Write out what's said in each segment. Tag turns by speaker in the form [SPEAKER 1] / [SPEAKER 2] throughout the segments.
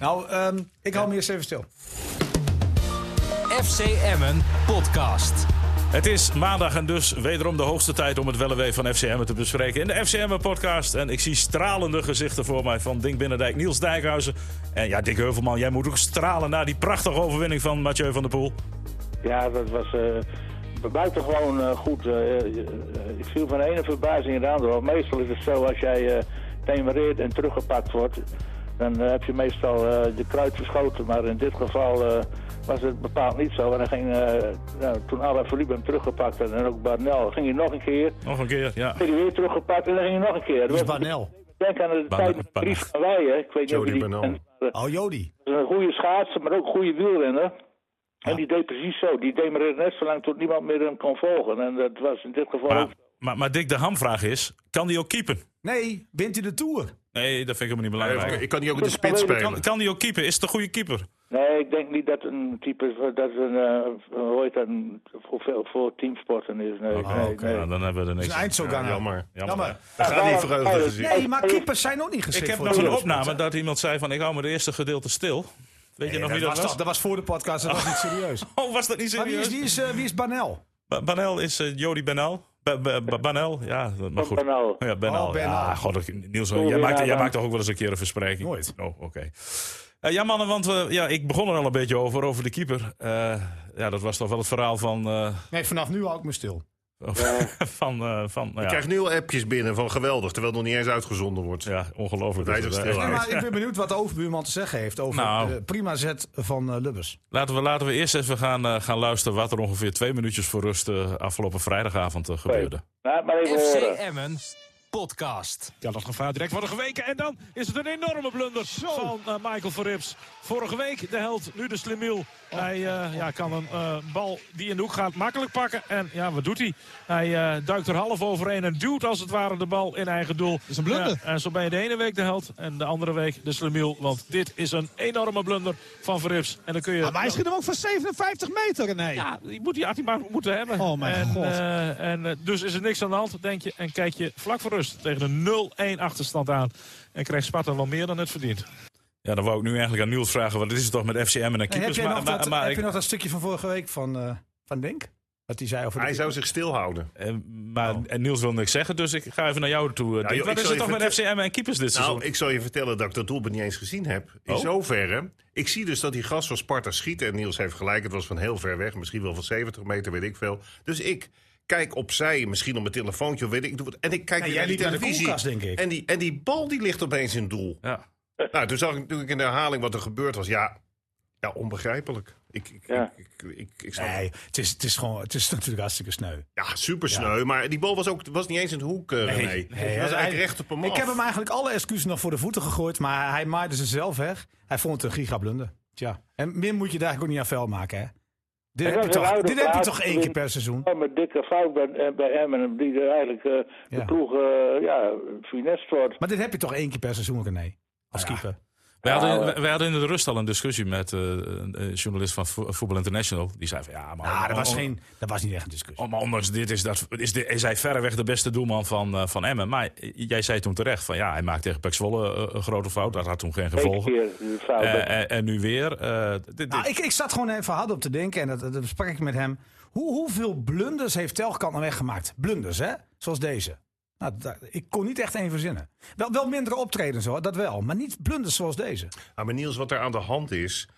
[SPEAKER 1] Nou, ehm, ik hou me eerst even stil.
[SPEAKER 2] FC Emmen podcast.
[SPEAKER 3] Het is maandag en dus wederom de hoogste tijd om het wel en wee van FCM te bespreken in de FCM podcast. En ik zie stralende gezichten voor mij van Dink Binnendijk, Niels Dijkhuizen. En ja, Dick Heuvelman, jij moet ook stralen na die prachtige overwinning van Mathieu van der Poel.
[SPEAKER 4] Ja, dat was eh buitengewoon eh, goed. Eh, eh, ik viel van de ene verbazing in de andere. Want meestal is het zo, als jij eh temereert en teruggepakt wordt... dan eh, heb je meestal eh, de kruid verschoten. Maar in dit geval eh, was het bepaald niet zo. En dan ging, eh, nou, toen Alain Philippe hem teruggepakt had en ook Barnel... ging hij nog een keer,
[SPEAKER 3] Nog een keer, ja.
[SPEAKER 4] ging hij weer teruggepakt en dan ging hij nog een keer.
[SPEAKER 1] Dus
[SPEAKER 4] Dat was-
[SPEAKER 1] Banel.
[SPEAKER 4] Denk aan de
[SPEAKER 3] Barnel-
[SPEAKER 4] tijd van
[SPEAKER 3] Barnel.
[SPEAKER 4] Dries van Weijen. Ik weet niet of
[SPEAKER 5] Jody
[SPEAKER 4] je die
[SPEAKER 5] Barnel.
[SPEAKER 4] kent, maar, eh,
[SPEAKER 1] Oh, Jody.
[SPEAKER 4] dat is een goede schaatser, maar ook een goede wielrenner. En die deed precies zo. Die demereerde net zo lang tot niemand meer hem kon volgen. En dat was in dit geval
[SPEAKER 3] Maar,
[SPEAKER 4] ook...
[SPEAKER 3] maar, maar Dick, de hamvraag is, kan die ook keepen?
[SPEAKER 1] Nee, wint u de Tour?
[SPEAKER 3] Nee, dat vind ik helemaal niet
[SPEAKER 5] Even-
[SPEAKER 3] belangrijk.
[SPEAKER 5] Ik kan die ook in de spits
[SPEAKER 3] Kan,
[SPEAKER 5] spelen.
[SPEAKER 3] kan die ook keeper? Is het een goede keeper?
[SPEAKER 4] Nee, ik denk niet dat een type... Dat een, eh hoe heet dat, een- voor, veel- voor teamsporten is. Nee, nee,
[SPEAKER 3] Oké,
[SPEAKER 4] nee.
[SPEAKER 3] nou, dan hebben we er
[SPEAKER 1] Een
[SPEAKER 3] niks. aan.
[SPEAKER 1] eindzoganger.
[SPEAKER 5] Ja, jammer.
[SPEAKER 3] Jammer. hè.
[SPEAKER 5] We gaan niet vreugde gezien.
[SPEAKER 1] Nee, maar keepers zijn ook niet geschikt
[SPEAKER 3] Ik heb
[SPEAKER 1] voor
[SPEAKER 3] nog
[SPEAKER 1] de
[SPEAKER 3] een
[SPEAKER 1] Tour.
[SPEAKER 3] opname dat iemand zei van, ik hou me de eerste gedeelte stil. Weet je
[SPEAKER 1] Nee,
[SPEAKER 3] nog wie
[SPEAKER 1] dat, was, toch- dat
[SPEAKER 3] dat was?
[SPEAKER 1] was voor de podcast, dat was niet serieus.
[SPEAKER 3] Oh, was dat niet
[SPEAKER 1] Maar wie is,
[SPEAKER 3] serieus?
[SPEAKER 1] wie is, eh, wie is Banel?
[SPEAKER 3] Ba- Banel is eh, Jody Banel. Ba- ba- ba- Banel, ja, dat- maar
[SPEAKER 4] Oh,
[SPEAKER 3] goed.
[SPEAKER 4] Banel.
[SPEAKER 3] Ja, Banel.
[SPEAKER 1] Oh, Banel.
[SPEAKER 3] Ja, god, ik- Niels,
[SPEAKER 4] Sorry,
[SPEAKER 3] jij maakt,
[SPEAKER 4] ja,
[SPEAKER 3] jij
[SPEAKER 4] dan-
[SPEAKER 3] maakt toch ook wel eens een keer een verspreking?
[SPEAKER 1] Nooit.
[SPEAKER 3] Oh, oké. Eh, ja, mannen, want eh, ja, ik begon er al een beetje over, over de keeper. Eh, ja, dat was toch wel het verhaal van... eh,
[SPEAKER 1] Nee, vanaf nu hou ik me stil.
[SPEAKER 3] van, eh, van nou
[SPEAKER 5] Ik
[SPEAKER 3] ja,
[SPEAKER 5] krijg nu al appjes binnen van geweldig, terwijl het nog niet eens uitgezonden wordt.
[SPEAKER 3] ja, ongelooflijk.
[SPEAKER 5] Wij
[SPEAKER 3] dat
[SPEAKER 5] zijn
[SPEAKER 3] het, eh,
[SPEAKER 5] stil.
[SPEAKER 1] Nee, maar ik ben benieuwd wat de overbuurman te zeggen heeft over
[SPEAKER 3] Nou.
[SPEAKER 1] de prima zet van eh, Lubbers.
[SPEAKER 3] Laten we, laten we eerst even gaan, eh, gaan luisteren wat er ongeveer twee minuutjes voor rust eh, afgelopen vrijdagavond eh, gebeurde.
[SPEAKER 4] Laat maar even
[SPEAKER 2] FC
[SPEAKER 4] horen.
[SPEAKER 2] Emmen podcast.
[SPEAKER 6] Ja, dat gevaar direct worden geweken. En dan is het een enorme blunder van eh, Michael Verrips. Vorige week de held, nu de slimiel. Hij eh, ja, kan een eh, bal die in de hoek gaat makkelijk pakken. En ja, wat doet hij? Hij eh, duikt er half overheen en duwt als het ware de bal in eigen doel. is een blunder. en zo ben je de ene week de held en de andere week de slimiel. Want dit is een enorme blunder van Verrips. En dan kun je...
[SPEAKER 7] Maar hij schiet hem ook van 57 meter, René.
[SPEAKER 6] Ja, die moet die 18 maar moeten hebben.
[SPEAKER 7] Oh, mijn
[SPEAKER 6] en,
[SPEAKER 7] God.
[SPEAKER 6] eh, en, eh, dus is er niks aan de hand, denk je. En kijk je vlak voor rust tegen een 0-1 achterstand aan. En krijgt Sparta wel meer dan het verdient.
[SPEAKER 3] Ja, dan wou ik nu eigenlijk aan Niels vragen, want dit is toch met FCM en een
[SPEAKER 1] En Nou, heb
[SPEAKER 3] keepers.
[SPEAKER 1] jij
[SPEAKER 3] maar-
[SPEAKER 1] nog,
[SPEAKER 3] maar-
[SPEAKER 1] dat,
[SPEAKER 3] maar
[SPEAKER 1] heb
[SPEAKER 3] ik-
[SPEAKER 1] je nog dat stukje van vorige week van, eh, van Denk? Wat hij zei over de
[SPEAKER 5] Hij zou
[SPEAKER 1] keeper?
[SPEAKER 5] zich stilhouden.
[SPEAKER 3] En, Eh, maar,
[SPEAKER 1] Oh.
[SPEAKER 3] en Niels wil niks zeggen, dus ik ga even naar jou toe. Dick.
[SPEAKER 5] joh, ik
[SPEAKER 3] Wat is
[SPEAKER 5] zal
[SPEAKER 3] het toch
[SPEAKER 5] je
[SPEAKER 3] met FCM en keepers dit seizoen?
[SPEAKER 5] Nou, ik zal je vertellen dat ik dat doelpunt niet eens gezien heb. In
[SPEAKER 3] Oh.
[SPEAKER 5] zoverre. Ik zie dus dat die gast van Sparta schiet. En Niels heeft gelijk, het was van heel ver weg. Misschien wel van 70 meter, weet ik veel. Dus ik kijk opzij, misschien op mijn telefoontje, of weet ik. ik doe het. En ik kijk
[SPEAKER 1] Ja,
[SPEAKER 5] weer
[SPEAKER 1] jij
[SPEAKER 5] naar die
[SPEAKER 1] liep naar de
[SPEAKER 5] televisie.
[SPEAKER 1] koelkast, denk ik.
[SPEAKER 5] En die, en die bal die ligt opeens in doel.
[SPEAKER 3] Ja.
[SPEAKER 5] Nou, toen zag ik natuurlijk in de herhaling wat er gebeurd was. Ja, ja onbegrijpelijk. Ik, ik,
[SPEAKER 4] Ja.
[SPEAKER 5] ik, ik, ik, ik snap
[SPEAKER 1] Nee, het is, het, is gewoon, het is natuurlijk hartstikke sneu.
[SPEAKER 5] Ja, super sneu. Maar die bal was, ook, was niet eens in de hoek, eh René. het was
[SPEAKER 1] hij-
[SPEAKER 5] eigenlijk recht op hem
[SPEAKER 1] Ik
[SPEAKER 5] af.
[SPEAKER 1] heb hem eigenlijk alle excuses nog voor de voeten gegooid, maar hij maaide ze zelf weg. Hij vond het een gigablunder. Tja. En meer moet je daar eigenlijk ook niet aan vuil maken, hè? Dit,
[SPEAKER 4] En
[SPEAKER 1] heb
[SPEAKER 4] dat
[SPEAKER 1] je,
[SPEAKER 4] is een
[SPEAKER 1] toch,
[SPEAKER 4] oude
[SPEAKER 1] dit heb je
[SPEAKER 4] vraag.
[SPEAKER 1] toch één keer per seizoen?
[SPEAKER 4] Een dikke fout bij, eh, bij Emmen, die er eigenlijk eh,
[SPEAKER 1] Ja.
[SPEAKER 4] de ploeg eh ja, finest wordt.
[SPEAKER 1] Maar dit heb je toch één keer per seizoen, René? Als keeper.
[SPEAKER 3] Wij, hadden,
[SPEAKER 4] Nou,
[SPEAKER 1] eh,
[SPEAKER 3] wij- wij hadden in de rust al een discussie met eh, een een journalist van Vo- Voetbal International. Die zei van ja, maar,
[SPEAKER 1] Ah, dat was,
[SPEAKER 3] on-
[SPEAKER 1] geen, dat was niet echt een discussie.
[SPEAKER 3] on- maar ondanks dit is, dat, is, de, is hij verreweg de beste doelman van, eh, van Emmen. Maar jij zei toen terecht van ja, hij maakt tegen Pek Zwolle eh, een grote fout. Dat had toen geen
[SPEAKER 4] Eén
[SPEAKER 3] gevolgen.
[SPEAKER 4] keer de fout.
[SPEAKER 3] Eh, en, en nu weer. eh, dit- dit-
[SPEAKER 1] Nou, ik, ik zat gewoon even hard op te denken en dat, dat besprak ik met hem. Hoe, hoeveel blunders heeft Telkamp nou weggemaakt? Blunders, hè? Zoals deze. Nou, daar- ik kon niet echt één verzinnen. Wel, wel mindere optredens hoor, dat wel. Maar niet blunders zoals deze.
[SPEAKER 5] Ah, maar Niels, wat er aan de hand is,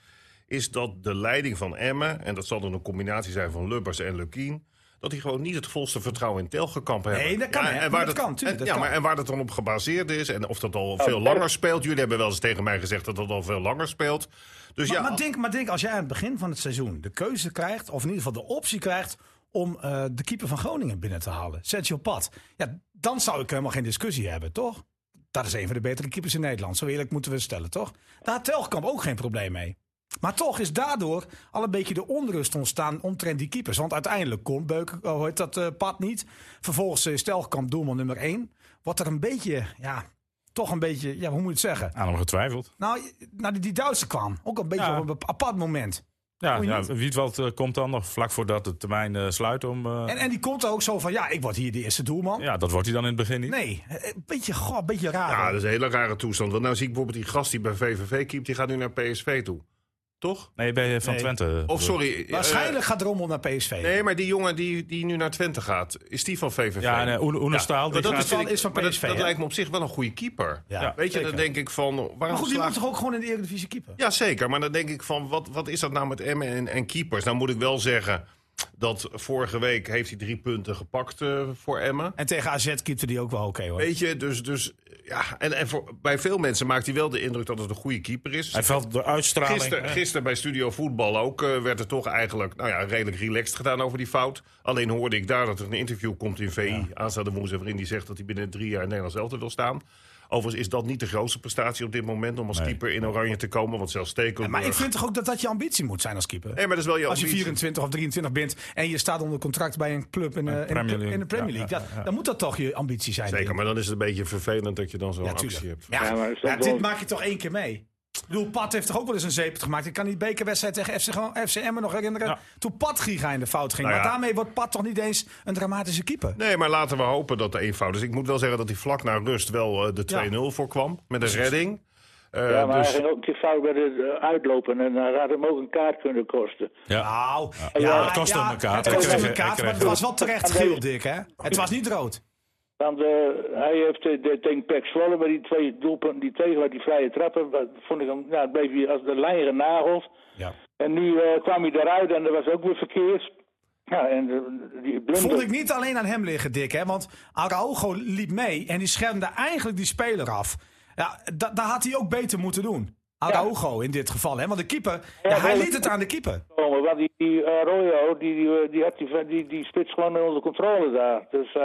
[SPEAKER 5] is dat de leiding van Emmen... en dat zal dan een combinatie zijn van Lubbers en Lukien... dat die gewoon niet het volste vertrouwen in Telgekamp hebben.
[SPEAKER 1] Nee, dat kan, hè?
[SPEAKER 5] en waar
[SPEAKER 1] Dat kan, tuurlijk,
[SPEAKER 5] en,
[SPEAKER 1] dat
[SPEAKER 5] ja,
[SPEAKER 1] kan. Oh,
[SPEAKER 5] Maar, en waar dat dan op gebaseerd is en of dat al veel
[SPEAKER 4] dat-
[SPEAKER 5] langer speelt. Jullie hebben wel eens tegen mij gezegd dat dat al veel langer speelt. Dus
[SPEAKER 1] Maar,
[SPEAKER 5] ja,
[SPEAKER 1] maar, denk, maar denk, als jij aan het begin van het seizoen de keuze krijgt, of in ieder geval de optie krijgt om eh, de keeper van Groningen binnen te halen, Sergio Pat. Ja, dan zou ik helemaal geen discussie hebben, toch? Dat is een van de betere keepers in Nederland. Zo eerlijk moeten we het stellen, toch? Daar had Telkamp ook geen probleem mee. Maar toch is daardoor al een beetje de onrust ontstaan omtrent die keepers. Want uiteindelijk komt Beuken, oh, heet dat eh pad niet. Vervolgens is Telkamp doelman nummer 1. Wat er een beetje, ja, toch een beetje, ja, hoe moet je het zeggen?
[SPEAKER 3] aan hem getwijfeld.
[SPEAKER 1] Nou, nou die, die Duitse kwam. Ook een beetje
[SPEAKER 6] Ja.
[SPEAKER 1] op een bep- apart moment.
[SPEAKER 3] Ja,
[SPEAKER 1] Moet je
[SPEAKER 3] ja
[SPEAKER 1] niet.
[SPEAKER 3] Wietveld eh, komt dan nog vlak voordat de termijn eh, sluit om... eh,
[SPEAKER 1] En, en die komt ook zo van, ja, ik word hier de eerste doelman.
[SPEAKER 3] ja, dat wordt hij dan in het begin niet.
[SPEAKER 1] Nee, eh, een beetje, goh, een beetje raar.
[SPEAKER 5] Ja,
[SPEAKER 1] hoor.
[SPEAKER 5] dat is een hele rare toestand. Want nou zie ik bijvoorbeeld die gast die bij VVV keept, die gaat nu naar PSV toe. Toch?
[SPEAKER 3] Nee, ben je van
[SPEAKER 1] Nee.
[SPEAKER 3] Twente.
[SPEAKER 5] Of sorry. eh,
[SPEAKER 1] Waarschijnlijk gaat Rommel naar PSV.
[SPEAKER 5] nee, maar die jongen die, die nu naar Twente gaat, is die van VVV?
[SPEAKER 3] Ja, nee, Oene- Oenestaal, die
[SPEAKER 5] maar
[SPEAKER 3] gaat-
[SPEAKER 5] vind
[SPEAKER 1] is van
[SPEAKER 5] maar dat-
[SPEAKER 1] PSV,
[SPEAKER 5] Dat,
[SPEAKER 1] hè?
[SPEAKER 5] lijkt me op zich wel een goede keeper.
[SPEAKER 1] Ja,
[SPEAKER 5] Weet je,
[SPEAKER 1] zeker.
[SPEAKER 5] dan denk ik van... Waarom
[SPEAKER 1] Maar goed, die
[SPEAKER 5] slaat-
[SPEAKER 1] mag toch ook gewoon in de Eredivisie keeper?
[SPEAKER 5] Ja, zeker. Maar dan denk ik van, wat, wat is dat nou met Emmen en, en keepers? Nou moet ik wel zeggen dat vorige week heeft hij drie punten gepakt eh, voor Emmen.
[SPEAKER 1] En tegen AZ keepte die ook wel oké hoor.
[SPEAKER 5] Weet je, dus, dus ja, en, en voor, bij veel mensen maakt hij wel de indruk dat het een goede keeper is.
[SPEAKER 3] Hij valt de uitstraling.
[SPEAKER 5] Gisteren gister bij Studio Voetbal ook eh, werd er toch eigenlijk nou ja, redelijk relaxed gedaan over die fout. Alleen hoorde ik daar dat er een interview komt in VI aanstaande woensdag... waarin die zegt dat hij binnen drie jaar in Nederland zelf wil staan. Overigens is dat niet de grootste prestatie op dit moment om als keeper in oranje te komen. Want zelfs Stekelburg...
[SPEAKER 1] maar ik vind toch ook dat dat je ambitie moet zijn als keeper?
[SPEAKER 5] Nee, maar dat is wel je
[SPEAKER 1] als je
[SPEAKER 5] ambitie.
[SPEAKER 1] 24 of 23 bent en je staat onder contract bij een club in, eh, in,
[SPEAKER 3] Premier
[SPEAKER 1] de,
[SPEAKER 3] League.
[SPEAKER 1] in de Premier
[SPEAKER 3] Ja,
[SPEAKER 1] League, dat, dan moet dat toch je ambitie zijn.
[SPEAKER 5] Zeker,
[SPEAKER 1] denk ik.
[SPEAKER 5] maar dan is het een beetje vervelend dat je dan zo'n
[SPEAKER 1] ja,
[SPEAKER 5] actie
[SPEAKER 1] tuurlijk.
[SPEAKER 5] hebt.
[SPEAKER 1] Ja,
[SPEAKER 4] Ja, maar
[SPEAKER 1] maar
[SPEAKER 4] is dat
[SPEAKER 1] ja,
[SPEAKER 4] wel-
[SPEAKER 1] dit maak je toch één keer mee? Ik bedoel, Pat heeft toch ook wel eens een zeep gemaakt. Ik kan die bekerwedstrijd tegen FC, gewoon- FC Emmen nog herinneren.
[SPEAKER 3] Ja.
[SPEAKER 1] Toen Pat Giga in de fout ging.
[SPEAKER 5] Nou
[SPEAKER 1] maar
[SPEAKER 5] ja.
[SPEAKER 1] daarmee wordt Pat toch niet eens een dramatische keeper?
[SPEAKER 5] Nee, maar laten we hopen dat de eenvoud is. Ik moet wel zeggen dat hij vlak na rust wel eh,
[SPEAKER 1] Ja.
[SPEAKER 5] de 2-0 voorkwam. Met een redding. Eh,
[SPEAKER 4] ja, maar
[SPEAKER 5] dus-
[SPEAKER 4] hij ging ook die fout bij het eh, uitlopen en dan had hem ook een kaart kunnen kosten.
[SPEAKER 3] Ja.
[SPEAKER 1] Nou, ja,
[SPEAKER 4] het
[SPEAKER 3] kost hem een kaart.
[SPEAKER 1] Het kost
[SPEAKER 4] Hij
[SPEAKER 1] hem
[SPEAKER 4] kreeg-
[SPEAKER 1] een kaart,
[SPEAKER 3] hij
[SPEAKER 1] maar
[SPEAKER 3] kreeg-
[SPEAKER 1] het was wel terecht geel, Dick, hè? Het was niet rood.
[SPEAKER 4] Want eh, hij heeft eh, de- tegen Pek Zwolle bij die twee doelpunten die tegen waar die vrije trappen. wat vond ik hem, nou, het bleef hij als de lijn genageld.
[SPEAKER 1] Ja.
[SPEAKER 4] En nu eh, kwam hij eruit en dat was ook weer verkeerd. Ja, en eh, die blunder.
[SPEAKER 1] Vond ik niet alleen aan hem liggen, Dick. Hè? Want Araujo liep mee en die schermde eigenlijk die speler af. Ja, da- daar had hij ook beter moeten doen. Araujo in dit geval. Hè? Want de keeper, ja,
[SPEAKER 4] Ja,
[SPEAKER 1] hij
[SPEAKER 4] wel-
[SPEAKER 1] liet het aan de keeper.
[SPEAKER 4] komen. Want die, die eh, Arroyo, die, die, eh, die had die, die, die spits gewoon onder controle daar. Dus eh,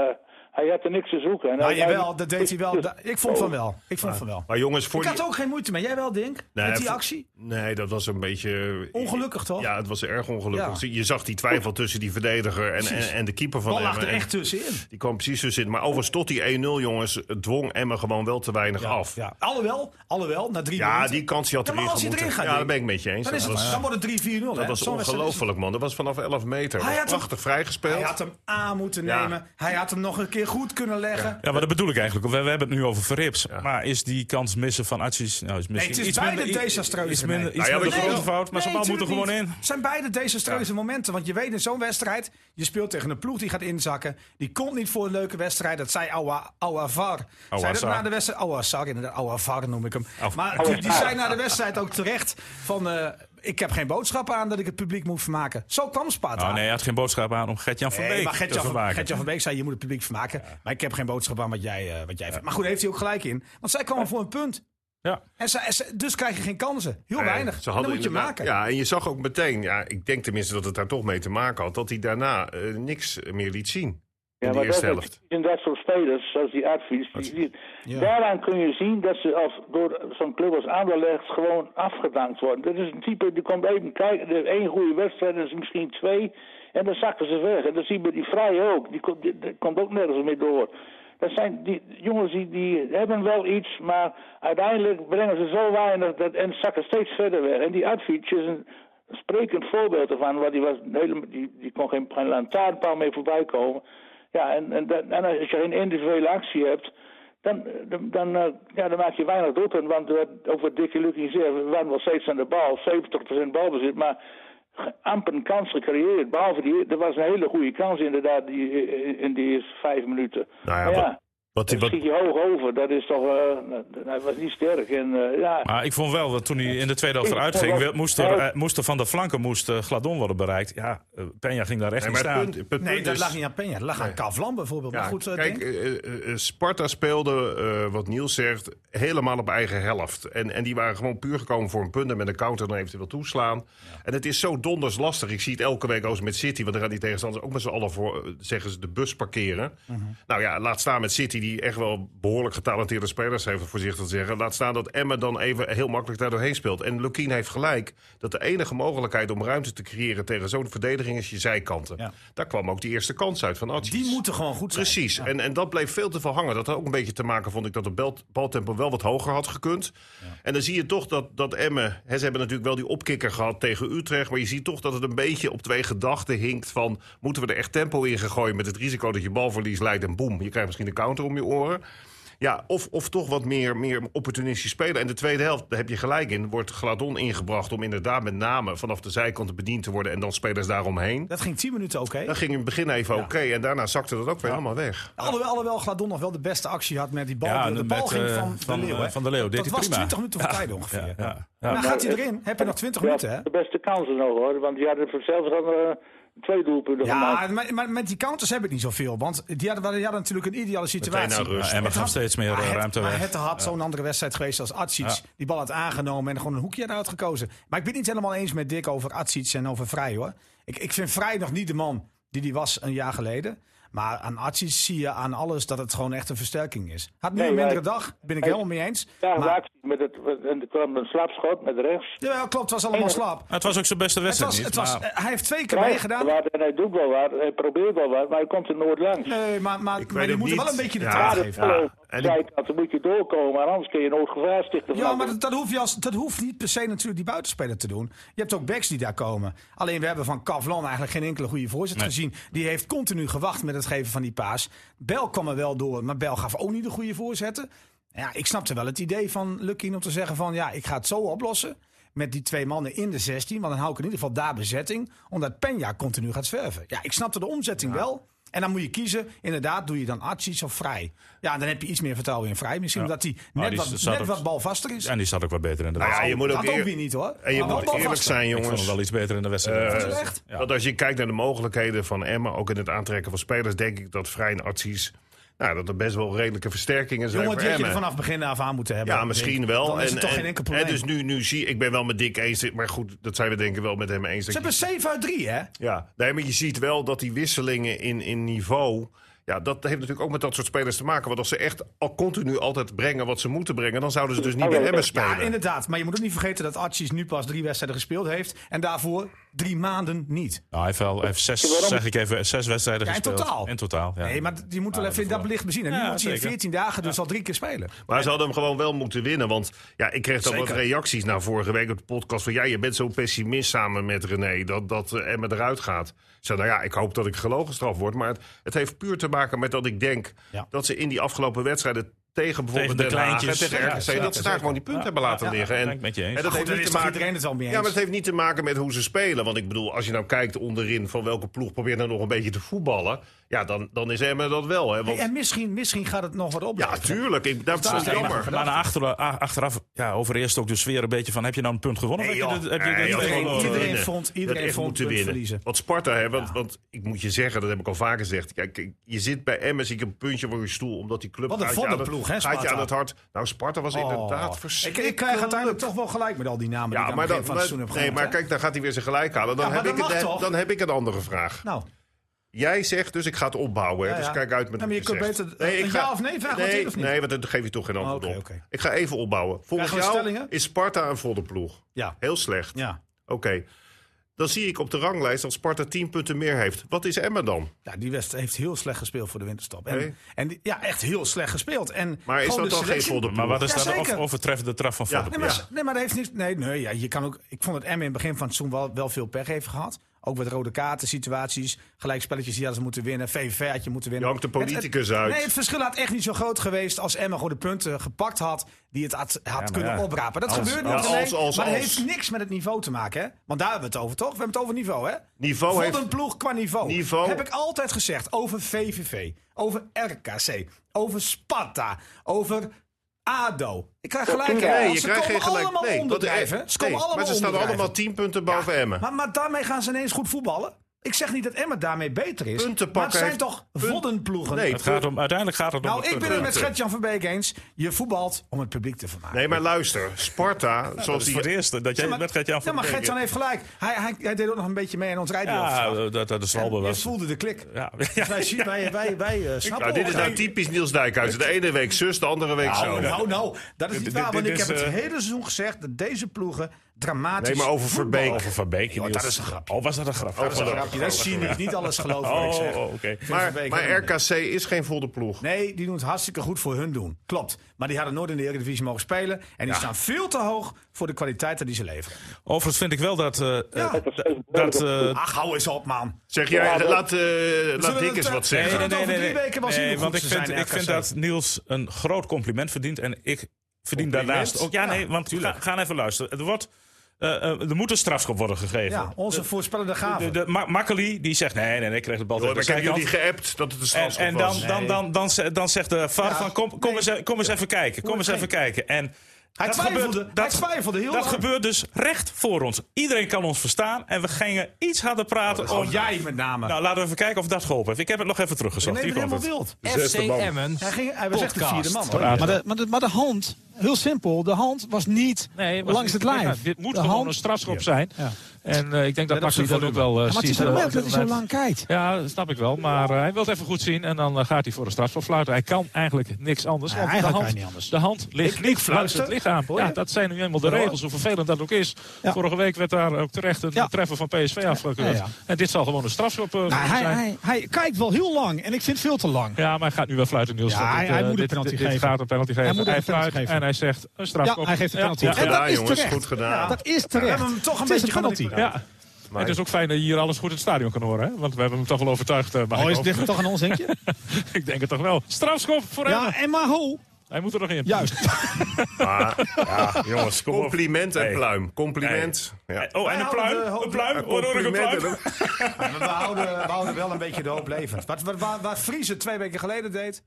[SPEAKER 4] hij had er niks te zoeken. En
[SPEAKER 1] Nou,
[SPEAKER 4] hij- hij-
[SPEAKER 1] jawel, dat deed hij wel. Da- Ik vond van wel. Ik vond van wel.
[SPEAKER 5] maar jongens, voor
[SPEAKER 1] Ik had
[SPEAKER 5] die-
[SPEAKER 1] ook geen moeite mee. Jij wel, Dink?
[SPEAKER 5] Nee,
[SPEAKER 1] Met die
[SPEAKER 5] voor-
[SPEAKER 1] actie?
[SPEAKER 5] Nee, dat was een beetje... eh,
[SPEAKER 1] Ongelukkig, toch?
[SPEAKER 5] Ja, het was erg ongelukkig.
[SPEAKER 1] Ja.
[SPEAKER 5] Je zag die twijfel tussen die verdediger en, en, en de keeper van
[SPEAKER 1] Bal lag
[SPEAKER 5] Emmen.
[SPEAKER 1] er
[SPEAKER 5] En
[SPEAKER 1] echt tussenin.
[SPEAKER 5] Die kwam precies zo zitten. Maar overigens tot die 1-0, jongens, dwong Emmen gewoon wel te weinig af. Ja,
[SPEAKER 1] Ja. Alhoewel, alhoewel, na drie minuten.
[SPEAKER 5] die kans die had
[SPEAKER 1] Ja, maar
[SPEAKER 5] erin
[SPEAKER 1] als hij
[SPEAKER 5] gemoeten.
[SPEAKER 1] erin gaat,
[SPEAKER 5] Ja, daar
[SPEAKER 1] Dick,
[SPEAKER 5] ben ik met je eens.
[SPEAKER 1] Dan, is
[SPEAKER 5] Dat
[SPEAKER 1] het,
[SPEAKER 5] was-
[SPEAKER 1] dan wordt het Ah, 3-4-0. hè.
[SPEAKER 5] Dat was
[SPEAKER 1] Zo'n wedstrijd is-
[SPEAKER 5] ongelooflijk, man. Dat was vanaf 11 meter.
[SPEAKER 1] Hij
[SPEAKER 5] Dat was
[SPEAKER 1] had hem-
[SPEAKER 5] prachtig vrijgespeeld.
[SPEAKER 1] Hij had hem aan moeten
[SPEAKER 5] Ja.
[SPEAKER 1] nemen. Hij had hem nog een keer goed kunnen leggen.
[SPEAKER 3] Ja, maar dat bedoel ik eigenlijk. We, we hebben het nu over Verrips. Maar is die kans missen van acties... Nou, is misschien
[SPEAKER 1] Nee, het is
[SPEAKER 3] iets
[SPEAKER 1] beide
[SPEAKER 3] minder, i-
[SPEAKER 1] desastreus,
[SPEAKER 3] Iets
[SPEAKER 1] René.
[SPEAKER 3] minder, iets
[SPEAKER 5] Nou ja,
[SPEAKER 3] minder
[SPEAKER 5] weet je
[SPEAKER 3] grote
[SPEAKER 5] wel-
[SPEAKER 3] fout, maar zijn
[SPEAKER 1] Nee,
[SPEAKER 3] bal moet er
[SPEAKER 1] tuurlijk
[SPEAKER 3] gewoon in.
[SPEAKER 1] niet. Het zijn beide desastreuze momenten. Want je weet in zo'n wedstrijd, je speelt tegen een ploeg die gaat inzakken. Die komt niet voor een leuke wedstrijd. Dat zei Awa, Awavar. Zei dat
[SPEAKER 3] Awasar.
[SPEAKER 1] na de wedstrijd? Awasar, inderdaad. Awavar noem ik hem.
[SPEAKER 3] Af-
[SPEAKER 1] maar die, die zei na de wedstrijd ook terecht van... eh, ik heb geen boodschap aan dat ik het publiek moet vermaken. Zo kwam Sparta.
[SPEAKER 3] Oh nee, hij had geen boodschap aan om Gert-Jan van
[SPEAKER 1] Nee,
[SPEAKER 3] Beek
[SPEAKER 1] maar
[SPEAKER 3] te
[SPEAKER 1] Gertjan van,
[SPEAKER 3] vermaken.
[SPEAKER 1] Gertjan van Beek zei, je moet het publiek vermaken. Maar ik heb geen boodschap aan wat jij, eh, wat jij vindt. Maar goed, daar heeft hij ook gelijk in. Want zij kwamen voor een punt.
[SPEAKER 3] Ja.
[SPEAKER 1] En zij, en zij- dus krijg je geen kansen. Heel
[SPEAKER 5] Nee,
[SPEAKER 1] weinig.
[SPEAKER 5] ze
[SPEAKER 1] En
[SPEAKER 5] hadden
[SPEAKER 1] dan moet je
[SPEAKER 5] inderdaad-
[SPEAKER 1] maken.
[SPEAKER 5] Ja, en je zag ook meteen, ja, ik denk tenminste dat het daar toch mee te maken had, dat hij daarna eh, niks meer liet zien in de
[SPEAKER 4] maar
[SPEAKER 5] eerste
[SPEAKER 4] dat,
[SPEAKER 5] helft.
[SPEAKER 4] En dat soort spelers, zoals die Advies, die, die- daaraan kun je zien dat ze als, door zo'n club als Anderlecht gewoon afgedankt worden. Dat is een type, die komt even kijken, de één goede wedstrijd, dat is misschien twee, en dan zakken ze weg. En dan zien we die vrij ook, die komt, die- die komt ook nergens meer door. Dat zijn die jongens die, die hebben wel iets, maar uiteindelijk brengen ze zo weinig dat, en zakken steeds verder weg. En die Advies is een sprekend voorbeeld ervan, want die, was helemaal, die, die kon geen, geen lantaarnpaal mee voorbij komen. Ja, en, en, dat- en als je geen individuele actie hebt, dan, dan, dan, eh, ja, dan maak je weinig doelpunt. Want eh, ook wat Dickie Lucky zegt, we waren nog steeds aan de bal, 70% balbezit, maar ge- amper een kans gecreëerd. Behalve die, er was een hele goede kans inderdaad die, eh, in die eerste vijf minuten.
[SPEAKER 5] Nou ja,
[SPEAKER 4] Maar
[SPEAKER 5] wat- Wat,
[SPEAKER 4] dat
[SPEAKER 5] wat,
[SPEAKER 4] schiet je hoog over, dat is toch, eh, hij was niet sterk. En, eh, ja,
[SPEAKER 3] Maar ik vond wel, dat toen hij in de tweede helft eruit ging, wel- moest er, eh, moest er van de flanken moest, eh, Gladon worden bereikt. Ja, eh, Peña ging daar echt
[SPEAKER 5] nee,
[SPEAKER 3] niet
[SPEAKER 5] maar het
[SPEAKER 3] staan.
[SPEAKER 5] punt, het punt
[SPEAKER 1] Nee, dat
[SPEAKER 5] is-
[SPEAKER 1] lag niet aan Peña. Dat lag aan Kavlan bijvoorbeeld.
[SPEAKER 5] ja,
[SPEAKER 1] maar goed, eh,
[SPEAKER 5] kijk,
[SPEAKER 1] Denk,
[SPEAKER 5] eh, eh, eh, Sparta speelde, eh, wat Niels zegt, helemaal op eigen helft. En, en die waren gewoon puur gekomen voor een punt en met een counter dan eventueel toeslaan. En het is zo donders lastig. Ik zie het elke week als
[SPEAKER 1] Mhm.
[SPEAKER 5] met City, want dan gaan die tegenstanders ook met z'n allen voor, eh, zeggen ze, de bus parkeren. Nou ja, laat staan met City, die echt wel behoorlijk getalenteerde spelers heeft, om voorzichtig te zeggen. Laat staan dat Emmen dan even heel makkelijk daar doorheen speelt. En Lukien heeft gelijk dat de enige mogelijkheid om ruimte te creëren tegen zo'n verdediging is je zijkanten.
[SPEAKER 1] Ja.
[SPEAKER 5] Daar kwam ook die eerste kans uit van Atjes.
[SPEAKER 1] Die moeten gewoon goed zijn.
[SPEAKER 5] Precies, en, en dat bleef veel te veel hangen. Dat had ook een beetje te maken, vond ik, dat het bel- baltempo wel wat hoger had gekund. En dan zie je toch dat, dat Emmen... Hè, ze hebben natuurlijk wel die opkikker gehad tegen Utrecht... maar je ziet toch dat het een beetje op twee gedachten hinkt van... moeten we er echt tempo in gaan gooien met het risico dat je balverlies leidt... en boem, je krijgt misschien een counter om je oren... Ja, of, of toch wat meer, meer opportunistisch spelen. En de tweede helft, daar heb je gelijk in, wordt Gladon ingebracht... om inderdaad met name vanaf de zijkanten bediend te worden... en dan spelers daaromheen.
[SPEAKER 1] Dat ging 10 minuten oké.
[SPEAKER 5] Dan ging in het begin even oké en daarna zakte dat ook weer helemaal weg.
[SPEAKER 1] Alhoewel, alhoewel Gladon nog wel de beste actie had met die bal.
[SPEAKER 3] Ja,
[SPEAKER 1] de, de
[SPEAKER 3] met,
[SPEAKER 1] bal ging
[SPEAKER 3] eh,
[SPEAKER 1] van,
[SPEAKER 3] van,
[SPEAKER 1] de Leeuw.
[SPEAKER 3] eh,
[SPEAKER 1] hè?
[SPEAKER 3] van de Leeuw. Deed
[SPEAKER 1] Dat
[SPEAKER 3] hij
[SPEAKER 1] was
[SPEAKER 3] prima.
[SPEAKER 1] 20 minuten voor tijd ongeveer.
[SPEAKER 3] Ja, ja,
[SPEAKER 1] Maar
[SPEAKER 3] ja.
[SPEAKER 1] gaat hij
[SPEAKER 4] Maar, eh,
[SPEAKER 1] erin? Heb je nog 20 minuten, hè?
[SPEAKER 4] De beste kansen nog hoor, want die hadden zelfs al eh, twee doelpunten
[SPEAKER 1] Ja,
[SPEAKER 4] gemaakt.
[SPEAKER 1] maar, maar met die counters heb ik niet zoveel. Want die hadden, die hadden natuurlijk een ideale situatie.
[SPEAKER 5] naar rust.
[SPEAKER 1] Het
[SPEAKER 3] En we
[SPEAKER 1] had-
[SPEAKER 3] gaan steeds meer,
[SPEAKER 1] maar
[SPEAKER 3] eh,
[SPEAKER 1] het-
[SPEAKER 3] ruimte
[SPEAKER 1] Maar
[SPEAKER 3] weg.
[SPEAKER 1] het had zo'n andere wedstrijd geweest als Atsic.
[SPEAKER 3] Ja.
[SPEAKER 1] Die bal had aangenomen en gewoon een hoekje had uitgekozen. Maar ik ben het niet helemaal eens met Dick over Atsic en over Vrij hoor. Ik, ik vind Vrij nog niet de man die die was een jaar geleden. Maar aan Atsic zie je aan alles dat het gewoon echt een versterking is. Had nu
[SPEAKER 4] Nee,
[SPEAKER 1] een mindere
[SPEAKER 4] maar-
[SPEAKER 1] dag, ben ik
[SPEAKER 4] Hey,
[SPEAKER 1] helemaal mee eens.
[SPEAKER 4] Ja,
[SPEAKER 1] maar,
[SPEAKER 4] actie met het, en er kwam een slapschot met rechts.
[SPEAKER 1] Jawel, klopt, het was allemaal
[SPEAKER 4] Hey,
[SPEAKER 1] slap.
[SPEAKER 3] Het was ook zijn beste
[SPEAKER 1] Het
[SPEAKER 3] wedstrijd
[SPEAKER 1] was,
[SPEAKER 3] niet,
[SPEAKER 1] het was,
[SPEAKER 3] maar-
[SPEAKER 1] hij heeft twee keer
[SPEAKER 4] Hij
[SPEAKER 1] meegedaan.
[SPEAKER 4] Wat, en hij doet wel wat, hij probeert wel wat, maar hij komt er nooit langs.
[SPEAKER 1] Nee, maar, maar, maar die
[SPEAKER 5] het
[SPEAKER 1] moeten
[SPEAKER 5] niet.
[SPEAKER 1] wel een beetje de
[SPEAKER 5] Ja,
[SPEAKER 1] taart
[SPEAKER 5] dat-
[SPEAKER 1] geven.
[SPEAKER 5] ja.
[SPEAKER 4] Ja,
[SPEAKER 5] en
[SPEAKER 4] en
[SPEAKER 5] ik-
[SPEAKER 4] dan moet je doorkomen, maar anders kun je nooit gevaar stichten.
[SPEAKER 1] Ja,
[SPEAKER 4] vanaf
[SPEAKER 1] maar
[SPEAKER 4] de-
[SPEAKER 1] dat, dat, hoef je als, dat hoeft niet per se natuurlijk die buitenspeler te doen. Je hebt ook backs die daar komen. Alleen we hebben van Kavlan eigenlijk geen enkele goede voorzet gezien. Die heeft continu gewacht met het geven van die paas. Bel kwam er wel door, maar Bel gaf ook niet de goede voorzetten. Ja, ik snapte wel het idee van Lukien om te zeggen van... ja, ik ga het zo oplossen met die twee mannen in de 16. Want dan hou ik in ieder geval daar bezetting. Omdat Penja continu gaat zwerven. Ja, ik snapte de omzetting wel. En dan moet je kiezen, inderdaad, doe je dan acties of vrij. Ja, dan heb je iets meer vertrouwen in vrij. Misschien omdat hij
[SPEAKER 3] Maar
[SPEAKER 1] net,
[SPEAKER 3] Nou, die
[SPEAKER 1] wat,
[SPEAKER 3] staat
[SPEAKER 1] net
[SPEAKER 3] ook-
[SPEAKER 1] wat balvaster is.
[SPEAKER 3] En die zat ook wat beter in de
[SPEAKER 5] Nou ja,
[SPEAKER 3] wedstrijd.
[SPEAKER 5] je moet ook,
[SPEAKER 1] Dat ook
[SPEAKER 5] eer-
[SPEAKER 1] weer niet hoor.
[SPEAKER 5] en je
[SPEAKER 1] Maar
[SPEAKER 5] moet
[SPEAKER 1] wel
[SPEAKER 5] eerlijk
[SPEAKER 1] vaster.
[SPEAKER 5] zijn, eh,
[SPEAKER 3] Ik vond
[SPEAKER 5] jongens.
[SPEAKER 3] hem wel iets beter in de wedstrijd.
[SPEAKER 1] Vond je het echt?
[SPEAKER 5] Want als je kijkt naar de mogelijkheden van Emmen, ook in het aantrekken van spelers, denk ik dat Vrij en Atsies, nou, dat er best wel redelijke versterkingen zijn
[SPEAKER 1] Jongen, die
[SPEAKER 5] voor
[SPEAKER 1] had je er
[SPEAKER 5] Emmen.
[SPEAKER 1] vanaf begin af aan moeten hebben.
[SPEAKER 5] Ja, misschien
[SPEAKER 1] Dan
[SPEAKER 5] wel.
[SPEAKER 1] is het
[SPEAKER 5] en,
[SPEAKER 1] toch
[SPEAKER 5] en-
[SPEAKER 1] geen enkel
[SPEAKER 5] en
[SPEAKER 1] probleem.
[SPEAKER 5] dus nu, nu zie ik ben wel met Dick eens, maar goed, dat zijn we denk ik wel met hem eens.
[SPEAKER 1] Ze hebben 7 uit 3 hè?
[SPEAKER 5] Ja, nee, maar je ziet wel dat die wisselingen in, in niveau. Ja, dat heeft natuurlijk ook met dat soort spelers te maken. Want als ze echt al continu altijd brengen wat ze moeten brengen, dan zouden ze dus niet bij Emmen
[SPEAKER 1] Ja,
[SPEAKER 5] spelen.
[SPEAKER 1] inderdaad. Maar je moet ook niet vergeten dat Archie's nu pas drie wedstrijden gespeeld heeft. En daarvoor drie maanden niet.
[SPEAKER 3] Nou, hij heeft wel hij heeft zes,
[SPEAKER 4] Waarom?
[SPEAKER 3] zeg ik even, zes wedstrijden
[SPEAKER 1] Ja, in
[SPEAKER 3] gespeeld.
[SPEAKER 1] totaal.
[SPEAKER 3] In totaal, ja. Ah,
[SPEAKER 1] Nee, maar d- je moet wel
[SPEAKER 3] Ja,
[SPEAKER 1] even in dat
[SPEAKER 3] daarvoor.
[SPEAKER 1] belicht bezien. En nu
[SPEAKER 3] Ja,
[SPEAKER 1] moet hij in
[SPEAKER 3] zeker.
[SPEAKER 1] 14 dagen dus al drie keer spelen.
[SPEAKER 5] Maar ze hadden hem gewoon wel moeten winnen. Want ja, ik kreeg dan wat reacties na vorige week op de podcast. Van ja, je bent zo pessimist samen met René dat, dat eh, Emmen eruit gaat. Ik zei, nou ja, ik hoop dat ik gelogenstraf word. Maar het, het heeft puur te maken met dat ik denk
[SPEAKER 1] Ja.
[SPEAKER 5] dat ze in die afgelopen wedstrijden tegen bijvoorbeeld
[SPEAKER 3] Tegen de
[SPEAKER 5] Den Haag en
[SPEAKER 3] kleintjes.
[SPEAKER 5] tegen
[SPEAKER 3] Ja,
[SPEAKER 5] RKC,
[SPEAKER 3] zeker,
[SPEAKER 5] dat ze daar
[SPEAKER 3] zeker.
[SPEAKER 5] gewoon die punten
[SPEAKER 3] Ja,
[SPEAKER 5] hebben laten
[SPEAKER 3] ja, ja,
[SPEAKER 5] liggen.
[SPEAKER 3] ben ik met je eens.
[SPEAKER 5] en dat
[SPEAKER 1] Nee,
[SPEAKER 5] heeft
[SPEAKER 1] daar
[SPEAKER 5] niet
[SPEAKER 1] is
[SPEAKER 5] te
[SPEAKER 1] toch
[SPEAKER 5] maken...
[SPEAKER 1] iedereen het wel mee
[SPEAKER 5] Ja,
[SPEAKER 1] eens?
[SPEAKER 5] maar het heeft niet te maken met hoe ze spelen. Want ik bedoel, als je nou kijkt onderin van welke ploeg probeert nou nog een beetje te voetballen. Ja, dan, dan is Emmen dat wel. Hè, want,
[SPEAKER 1] Hey, en misschien, misschien gaat het nog wat
[SPEAKER 5] ja,
[SPEAKER 1] opleveren.
[SPEAKER 5] tuurlijk. Ik, dat
[SPEAKER 1] daar
[SPEAKER 5] is
[SPEAKER 1] is
[SPEAKER 5] jammer.
[SPEAKER 3] Maar na achter, a- achteraf ja, overeerst ook de sfeer een beetje van... heb je nou een punt gewonnen?
[SPEAKER 5] Nee,
[SPEAKER 3] Of heb
[SPEAKER 5] joh.
[SPEAKER 3] je dit- heb je dit
[SPEAKER 5] Nee,
[SPEAKER 3] niet
[SPEAKER 5] joh.
[SPEAKER 1] iedereen,
[SPEAKER 3] gewonnen?
[SPEAKER 1] iedereen
[SPEAKER 5] winnen.
[SPEAKER 1] vond,
[SPEAKER 5] Dat
[SPEAKER 1] iedereen
[SPEAKER 5] echt
[SPEAKER 1] vond
[SPEAKER 5] moeten
[SPEAKER 1] punt
[SPEAKER 5] winnen.
[SPEAKER 1] verliezen.
[SPEAKER 5] Wat Sparta, hè, want, want ik moet je zeggen, dat heb ik al vaker gezegd. Kijk, kijk, je zit bij Emmen, zie ik een puntje voor je stoel, omdat die club
[SPEAKER 1] Wat een
[SPEAKER 5] gaat je aan het-
[SPEAKER 1] voddenploeg, hè,
[SPEAKER 5] gaat je
[SPEAKER 1] Sparta. Oh.
[SPEAKER 5] aan het hart. Nou, Sparta was inderdaad
[SPEAKER 1] ik,
[SPEAKER 5] verschrikkelijk.
[SPEAKER 1] ik krijg uiteindelijk toch wel gelijk met al die namen die
[SPEAKER 5] Ja,
[SPEAKER 1] ik aan
[SPEAKER 5] maar,
[SPEAKER 1] het
[SPEAKER 5] dan,
[SPEAKER 1] begin van het seizoen
[SPEAKER 5] maar,
[SPEAKER 1] heb
[SPEAKER 5] nee,
[SPEAKER 1] genoemd,
[SPEAKER 5] maar
[SPEAKER 1] hè?
[SPEAKER 5] kijk, dan gaat hij weer zijn gelijk halen. Dan,
[SPEAKER 1] Ja,
[SPEAKER 5] heb
[SPEAKER 1] maar
[SPEAKER 5] ik
[SPEAKER 1] dat
[SPEAKER 5] het-
[SPEAKER 1] mag
[SPEAKER 5] dan,
[SPEAKER 1] toch?
[SPEAKER 5] heb ik een andere vraag.
[SPEAKER 1] Nou,
[SPEAKER 5] Jij zegt dus, ik ga het opbouwen. hè,
[SPEAKER 1] Ja, ja.
[SPEAKER 5] Dus kijk uit met
[SPEAKER 1] Ja, maar
[SPEAKER 5] wat
[SPEAKER 1] je kunt
[SPEAKER 5] zegt.
[SPEAKER 1] beter, eh,
[SPEAKER 5] ik
[SPEAKER 1] een ja of nee vragen, wat
[SPEAKER 5] Nee,
[SPEAKER 1] zit of niet?
[SPEAKER 5] nee, want dan geef je toch geen antwoord
[SPEAKER 1] Oh, oké,
[SPEAKER 5] op.
[SPEAKER 1] oké.
[SPEAKER 5] Ik ga even opbouwen. Volgens
[SPEAKER 1] Krijgen we
[SPEAKER 5] jou
[SPEAKER 1] stellingen?
[SPEAKER 5] is Sparta een voddenploeg.
[SPEAKER 1] ja.
[SPEAKER 5] Heel slecht.
[SPEAKER 1] Nou, Ja.
[SPEAKER 5] Oké. Dan zie ik op de ranglijst dat Sparta 10 punten meer heeft. Wat is Emma dan?
[SPEAKER 1] Ja, die wedstrijd heeft heel slecht gespeeld voor de winterstop. En,
[SPEAKER 5] Oké.
[SPEAKER 1] en die- ja, echt heel slecht gespeeld. En
[SPEAKER 5] Maar is
[SPEAKER 1] gewoon de
[SPEAKER 5] dat dan geen
[SPEAKER 1] selectie-
[SPEAKER 5] voldoende
[SPEAKER 3] Maar wat is
[SPEAKER 1] Ja,
[SPEAKER 3] dat dan
[SPEAKER 1] zeker.
[SPEAKER 3] over- overtreffende traf van
[SPEAKER 5] Ja.
[SPEAKER 3] Vlaanderen?
[SPEAKER 1] Nee, maar,
[SPEAKER 5] Ja.
[SPEAKER 1] nee, maar dat heeft niet. Nee, nee, ja, je kan ook. Ik vond het M in het begin van het seizoen wel, wel veel pech heeft gehad. Ook met rode kaarten, situaties, gelijkspelletjes die hadden ze moeten winnen. VVV had je moeten winnen.
[SPEAKER 5] Je hangt de
[SPEAKER 1] Het- het-
[SPEAKER 5] politicus uit.
[SPEAKER 1] Nee, het verschil had echt niet zo groot geweest als Emma gewoon de punten gepakt had die het had, had kunnen
[SPEAKER 3] ja.
[SPEAKER 1] oprapen. Dat
[SPEAKER 3] Als-
[SPEAKER 1] gebeurt niet.
[SPEAKER 5] als-
[SPEAKER 1] alleen,
[SPEAKER 5] als- als-
[SPEAKER 1] maar het
[SPEAKER 5] als.
[SPEAKER 1] heeft niks met het niveau te maken, hè? Want daar hebben we het over, toch? We hebben het over niveau, hè?
[SPEAKER 5] Niveau
[SPEAKER 1] Wat
[SPEAKER 5] heeft-
[SPEAKER 1] een ploeg qua niveau.
[SPEAKER 5] Niveau-
[SPEAKER 1] Heb ik altijd gezegd over VVV, over RKC, over Sparta, over ADO. Ik krijg gelijk. hè?
[SPEAKER 5] Nee,
[SPEAKER 1] Want
[SPEAKER 5] je
[SPEAKER 1] ze
[SPEAKER 5] krijgt geen
[SPEAKER 1] komen
[SPEAKER 5] gelijk.
[SPEAKER 1] allemaal
[SPEAKER 5] Nee, dat-
[SPEAKER 1] onderdrijven.
[SPEAKER 5] eh,
[SPEAKER 1] Ze komen
[SPEAKER 5] nee,
[SPEAKER 1] allemaal
[SPEAKER 5] maar ze staan
[SPEAKER 1] onderdrijven.
[SPEAKER 5] allemaal 10 punten boven Emmen.
[SPEAKER 1] Maar, maar daarmee gaan ze ineens goed voetballen. Ik zeg niet dat Emma daarmee beter is.
[SPEAKER 5] Punten
[SPEAKER 1] maar het
[SPEAKER 5] pakken
[SPEAKER 1] zijn
[SPEAKER 5] heeft-
[SPEAKER 1] toch
[SPEAKER 5] punt-
[SPEAKER 1] voddenploegen?
[SPEAKER 5] Nee,
[SPEAKER 3] Het gaat om, uiteindelijk gaat het om
[SPEAKER 1] nou,
[SPEAKER 3] de
[SPEAKER 1] ik ben het met
[SPEAKER 5] punten.
[SPEAKER 1] Gert-Jan van Beek eens. Je voetbalt om het publiek te vermaken.
[SPEAKER 5] Nee, maar luister. Sparta,
[SPEAKER 3] Dat
[SPEAKER 5] zoals
[SPEAKER 3] is voor het
[SPEAKER 5] die...
[SPEAKER 3] eerst dat jij
[SPEAKER 1] Ja, maar-
[SPEAKER 3] met Gert-Jan
[SPEAKER 1] Ja,
[SPEAKER 3] van
[SPEAKER 1] maar
[SPEAKER 3] Beek-
[SPEAKER 1] Gert-Jan heeft gelijk. Hij, hij, hij deed ook nog een beetje mee aan ons
[SPEAKER 3] Ja,
[SPEAKER 1] rijden.
[SPEAKER 3] dat, dat de Zwalbe
[SPEAKER 1] je
[SPEAKER 3] was.
[SPEAKER 1] voelde de klik.
[SPEAKER 3] Ja, ja.
[SPEAKER 1] Wij, zien- wij, wij, wij eh, snappen
[SPEAKER 5] Nou, dit is
[SPEAKER 1] elkaar.
[SPEAKER 5] nou typisch Niels Dijkhuizen. De ene week zus, de andere week zo.
[SPEAKER 1] Nou, nou, nou, dat is niet
[SPEAKER 3] Dit-
[SPEAKER 1] waar.
[SPEAKER 3] dit
[SPEAKER 1] Want ik
[SPEAKER 3] is,
[SPEAKER 1] heb het
[SPEAKER 3] eh,
[SPEAKER 1] hele seizoen gezegd dat deze ploegen dramatisch.
[SPEAKER 5] Nee, maar over
[SPEAKER 1] voetballen.
[SPEAKER 5] Verbeek.
[SPEAKER 3] Over Van Beek.
[SPEAKER 1] Joh,
[SPEAKER 3] Niels.
[SPEAKER 1] dat is een grapje.
[SPEAKER 3] Oh, was dat een grap?
[SPEAKER 1] Dat is een grapje. Dat is cynisch. Niet alles geloven wat ik
[SPEAKER 3] Oh,
[SPEAKER 1] zeg.
[SPEAKER 3] oké.
[SPEAKER 1] Ik vind
[SPEAKER 5] Maar,
[SPEAKER 1] Verbeek
[SPEAKER 5] maar
[SPEAKER 1] helemaal
[SPEAKER 5] RKC is geen volle ploeg.
[SPEAKER 1] niks. Nee, die doen het hartstikke goed voor hun doen. Klopt. Maar die hadden nooit in de Eredivisie mogen spelen. En die staan veel te hoog voor de kwaliteiten die ze leveren.
[SPEAKER 3] Overigens vind ik wel dat... eh, eh,
[SPEAKER 1] Ja.
[SPEAKER 3] dat eh,
[SPEAKER 1] Ach, hou eens op, man.
[SPEAKER 5] Zeg jij,
[SPEAKER 4] Ja, dat-
[SPEAKER 5] laat, eh, laat
[SPEAKER 1] we
[SPEAKER 5] Dick eens
[SPEAKER 1] dat-
[SPEAKER 5] wat
[SPEAKER 1] Nee,
[SPEAKER 5] zeggen.
[SPEAKER 1] nee, over drie weken was hij nog
[SPEAKER 3] want
[SPEAKER 1] goed
[SPEAKER 3] ik
[SPEAKER 1] te
[SPEAKER 3] vind,
[SPEAKER 1] zijn,
[SPEAKER 3] ik vind
[SPEAKER 1] RKC.
[SPEAKER 3] dat Niels een groot compliment verdient. En ik verdien
[SPEAKER 5] Compliment?
[SPEAKER 3] daarnaast ook. Ja,
[SPEAKER 1] Ja,
[SPEAKER 3] nee, want ga, gaan even luisteren. Er, wordt, eh, eh, er moet een strafschop worden gegeven.
[SPEAKER 1] Ja, onze voorspellende
[SPEAKER 3] De,
[SPEAKER 1] gaven.
[SPEAKER 3] de, Ma- Makkeli, die zegt nee, nee, nee, ik kreeg de bal
[SPEAKER 5] Hoor,
[SPEAKER 3] tegen de
[SPEAKER 5] maar ik heb jullie
[SPEAKER 3] zijkant.
[SPEAKER 5] geappt dat het een
[SPEAKER 3] En,
[SPEAKER 5] strafschop
[SPEAKER 3] en dan,
[SPEAKER 5] was.
[SPEAKER 3] dan, dan, dan, ze- dan zegt de VAR
[SPEAKER 1] Ja,
[SPEAKER 3] van kom, kom,
[SPEAKER 1] nee.
[SPEAKER 3] eens, e- kom eens even kijken, kom eens even kijken. En
[SPEAKER 1] Hij
[SPEAKER 3] dat
[SPEAKER 1] twijfelde.
[SPEAKER 3] gebeurt-
[SPEAKER 1] Hij twijfelde heel
[SPEAKER 3] Dat
[SPEAKER 1] lang.
[SPEAKER 3] gebeurt dus recht voor ons. Iedereen kan ons verstaan en we gingen iets harder praten.
[SPEAKER 1] Oh,
[SPEAKER 3] om-
[SPEAKER 1] jij met name.
[SPEAKER 3] Nou, laten we even kijken of dat geholpen heeft. Ik heb het nog even
[SPEAKER 1] Nee,
[SPEAKER 3] teruggezocht.
[SPEAKER 1] maar
[SPEAKER 3] Hier komt
[SPEAKER 1] helemaal
[SPEAKER 3] het.
[SPEAKER 1] wild.
[SPEAKER 2] FC Emmen
[SPEAKER 1] Hij, ging, hij was echt de vierde
[SPEAKER 2] Podcast.
[SPEAKER 1] man. hoor.
[SPEAKER 7] Maar de, maar, de, maar de hand, heel simpel, de hand was niet
[SPEAKER 6] Nee, was
[SPEAKER 7] Oh, langs
[SPEAKER 6] niet-
[SPEAKER 7] het lijn.
[SPEAKER 6] ja, dit moet
[SPEAKER 7] de
[SPEAKER 6] gewoon
[SPEAKER 7] hand-
[SPEAKER 6] een strafschop zijn.
[SPEAKER 7] Ja.
[SPEAKER 6] En eh, ik denk dat
[SPEAKER 1] Ja, dat
[SPEAKER 6] Max
[SPEAKER 1] is een
[SPEAKER 6] dat ook
[SPEAKER 1] volume.
[SPEAKER 6] wel eh,
[SPEAKER 7] Maar het
[SPEAKER 6] ziet.
[SPEAKER 7] is wel
[SPEAKER 6] eh,
[SPEAKER 7] leuk dat hij zo
[SPEAKER 6] inderdaad.
[SPEAKER 7] lang kijkt.
[SPEAKER 6] Ja, dat snap ik wel. Maar eh, hij wil het even goed zien. En dan eh, gaat hij voor een strafschop fluiten. Hij kan eigenlijk niks anders.
[SPEAKER 7] Ja,
[SPEAKER 6] want
[SPEAKER 7] eigenlijk
[SPEAKER 6] de hand,
[SPEAKER 7] kan hij niet anders.
[SPEAKER 6] De hand ligt
[SPEAKER 1] Ik- ik
[SPEAKER 6] niet langs
[SPEAKER 1] fluiten.
[SPEAKER 6] het lichaam.
[SPEAKER 1] Hoor je?
[SPEAKER 6] Ja, dat zijn nu eenmaal de
[SPEAKER 1] Ja, hoor.
[SPEAKER 6] regels. Hoe vervelend dat ook is.
[SPEAKER 7] Ja.
[SPEAKER 6] Vorige week werd daar ook terecht een
[SPEAKER 7] Ja.
[SPEAKER 6] treffer van PSV afgekeurd.
[SPEAKER 7] Ja, ja.
[SPEAKER 6] En dit zal gewoon een strafschop eh,
[SPEAKER 7] Nou, hij,
[SPEAKER 6] zijn.
[SPEAKER 7] hij, hij kijkt wel heel lang en ik vind veel te lang.
[SPEAKER 6] Ja, maar hij gaat nu wel fluiten, Niels.
[SPEAKER 7] Ja,
[SPEAKER 6] Want
[SPEAKER 7] hij- hij
[SPEAKER 6] eh,
[SPEAKER 7] moet een
[SPEAKER 6] dit-
[SPEAKER 7] penalty
[SPEAKER 6] dit, Dit
[SPEAKER 7] geven.
[SPEAKER 6] gaat een penalty geven. Hij,
[SPEAKER 7] moet ook een
[SPEAKER 6] fluit
[SPEAKER 7] penalty geven.
[SPEAKER 6] en hij zegt een
[SPEAKER 7] Ja,
[SPEAKER 6] strafschop.
[SPEAKER 7] hij geeft een penalty.
[SPEAKER 6] Ja,
[SPEAKER 7] En
[SPEAKER 5] Ja,
[SPEAKER 7] dat is
[SPEAKER 5] jongens,
[SPEAKER 7] terecht.
[SPEAKER 5] goed gedaan.
[SPEAKER 7] Ja, Dat is terecht.
[SPEAKER 1] We hebben hem toch een
[SPEAKER 7] Het is
[SPEAKER 1] beetje
[SPEAKER 7] een penalty.
[SPEAKER 1] van de-
[SPEAKER 6] Ja. En het is ook fijn dat je hier alles goed in het stadion kan horen. Hè? Want we hebben hem toch wel overtuigd. eh, Marco.
[SPEAKER 7] Oh, is dit toch aan ons, denk je?
[SPEAKER 6] Ik denk het toch wel. Strafschop voor hem.
[SPEAKER 7] Ja, en maar ho.
[SPEAKER 6] Hij moet er nog in.
[SPEAKER 7] Juist.
[SPEAKER 5] Maar, ja, jongens,
[SPEAKER 3] kom op.
[SPEAKER 5] compliment en
[SPEAKER 3] Hey.
[SPEAKER 5] pluim. Compliment. Ja.
[SPEAKER 3] Eh, Oh, en
[SPEAKER 1] Wij houden
[SPEAKER 3] een
[SPEAKER 1] de
[SPEAKER 3] pluim?
[SPEAKER 1] hoop-
[SPEAKER 3] Een pluim? Hoor, hoor ik een
[SPEAKER 5] Compliment
[SPEAKER 3] pluim?
[SPEAKER 5] en-
[SPEAKER 1] Ja, maar we, houden, we houden wel een beetje de hoop levend. Wat, wat, wat, wat Fries het twee weken geleden deed,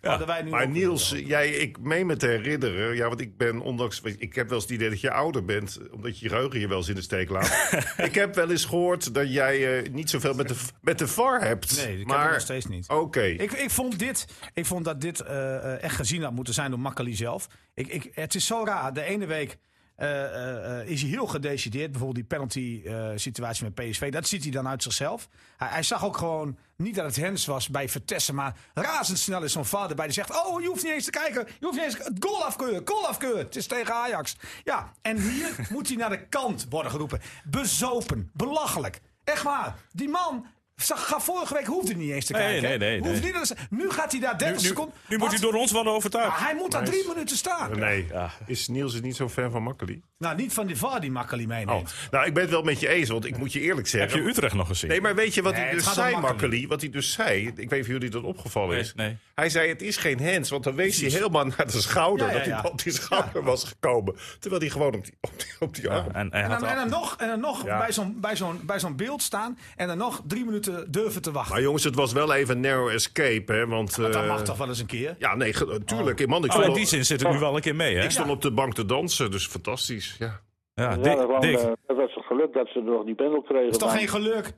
[SPEAKER 1] hadden wij nu.
[SPEAKER 5] Maar
[SPEAKER 1] ook.
[SPEAKER 5] Niels, jij, ik meen me te herinneren. Ja, want ik ben ondanks. Ik heb wel eens het idee dat je ouder bent. Omdat je geheugen je wel eens in de steek laat. ik heb wel eens gehoord dat jij eh, niet zoveel met de, met de VAR hebt.
[SPEAKER 1] Nee, ik heb
[SPEAKER 5] maar,
[SPEAKER 1] het nog steeds niet.
[SPEAKER 5] Oké.
[SPEAKER 1] Ik, ik, vond dit, ik vond dat dit eh, eh, echt gezien had moeten zijn door Makkeli zelf. Ik, ik, het is zo raar. De ene week eh, eh, eh, is hij heel gedecideerd. Bijvoorbeeld die penalty-situatie met PSV. Dat ziet hij dan uit zichzelf. Hij, hij zag ook gewoon niet dat het Hens was bij Vertessen. Maar razendsnel is zo'n vader bij die zegt... Oh, je hoeft niet eens te kijken. Je hoeft niet eens... Het goal afkeuren, goal afkeuren. Het is tegen Ajax. Ja, en hier moet hij naar de kant worden geroepen. Bezopen, belachelijk. Echt waar. Die man... zag- Ga vorige week hoefde hij niet eens te
[SPEAKER 3] Nee,
[SPEAKER 1] kijken.
[SPEAKER 3] nee, nee,
[SPEAKER 1] Hoeft
[SPEAKER 3] nee.
[SPEAKER 1] niet dat is- nu gaat hij daar 30
[SPEAKER 3] Nu,
[SPEAKER 1] seconden.
[SPEAKER 3] nu moet hij
[SPEAKER 1] Wat?
[SPEAKER 3] door ons worden overtuigd.
[SPEAKER 1] Ah, hij moet daar drie minuten staan.
[SPEAKER 5] Nee, is Niels is niet zo'n fan van Makkeli?
[SPEAKER 1] Nou, niet van die VAR die Makkeli
[SPEAKER 5] Oh,
[SPEAKER 1] meeneemt.
[SPEAKER 5] nou, ik ben het wel met je eens, want ik moet je eerlijk
[SPEAKER 3] Heb
[SPEAKER 5] zeggen.
[SPEAKER 3] je Utrecht nog gezien?
[SPEAKER 5] Nee, maar weet je wat
[SPEAKER 1] Nee,
[SPEAKER 5] hij
[SPEAKER 1] het
[SPEAKER 5] dus
[SPEAKER 1] gaat om
[SPEAKER 5] zei,
[SPEAKER 1] Makkeli.
[SPEAKER 5] Makkeli? Wat hij dus zei, ik weet niet of jullie dat opgevallen
[SPEAKER 3] Nee,
[SPEAKER 5] is.
[SPEAKER 3] nee.
[SPEAKER 5] Hij zei, het is geen hands, want dan wees hij helemaal naar de schouder.
[SPEAKER 1] Ja, ja,
[SPEAKER 5] Dat
[SPEAKER 1] ja.
[SPEAKER 5] hij op die schouder was gekomen. Terwijl hij gewoon op die, op die, op die arm...
[SPEAKER 3] En, hij
[SPEAKER 1] En
[SPEAKER 3] had
[SPEAKER 1] dan, en
[SPEAKER 3] al-
[SPEAKER 1] dan nog, en dan nog
[SPEAKER 5] Ja.
[SPEAKER 1] bij zo'n bij zo'n bij zo'n beeld staan. En dan nog drie minuten durven te wachten.
[SPEAKER 5] Maar jongens, het was wel even een narrow escape, hè? Want,
[SPEAKER 1] Want dat
[SPEAKER 5] eh,
[SPEAKER 1] mag toch wel eens een keer?
[SPEAKER 5] Ja, nee, ge- tuurlijk. Man, ik
[SPEAKER 3] Oh,
[SPEAKER 5] stond,
[SPEAKER 3] in
[SPEAKER 5] op,
[SPEAKER 3] die zin zit het nu wel een keer mee, hè?
[SPEAKER 5] ik stond op de bank te dansen, dus fantastisch. Ja.
[SPEAKER 3] Ja,
[SPEAKER 4] Ja, dat,
[SPEAKER 3] Dick,
[SPEAKER 4] was,
[SPEAKER 3] Dick,
[SPEAKER 4] eh, dat was een geluk dat ze nog die pendel kregen.
[SPEAKER 1] is toch
[SPEAKER 4] maar
[SPEAKER 1] geen geluk?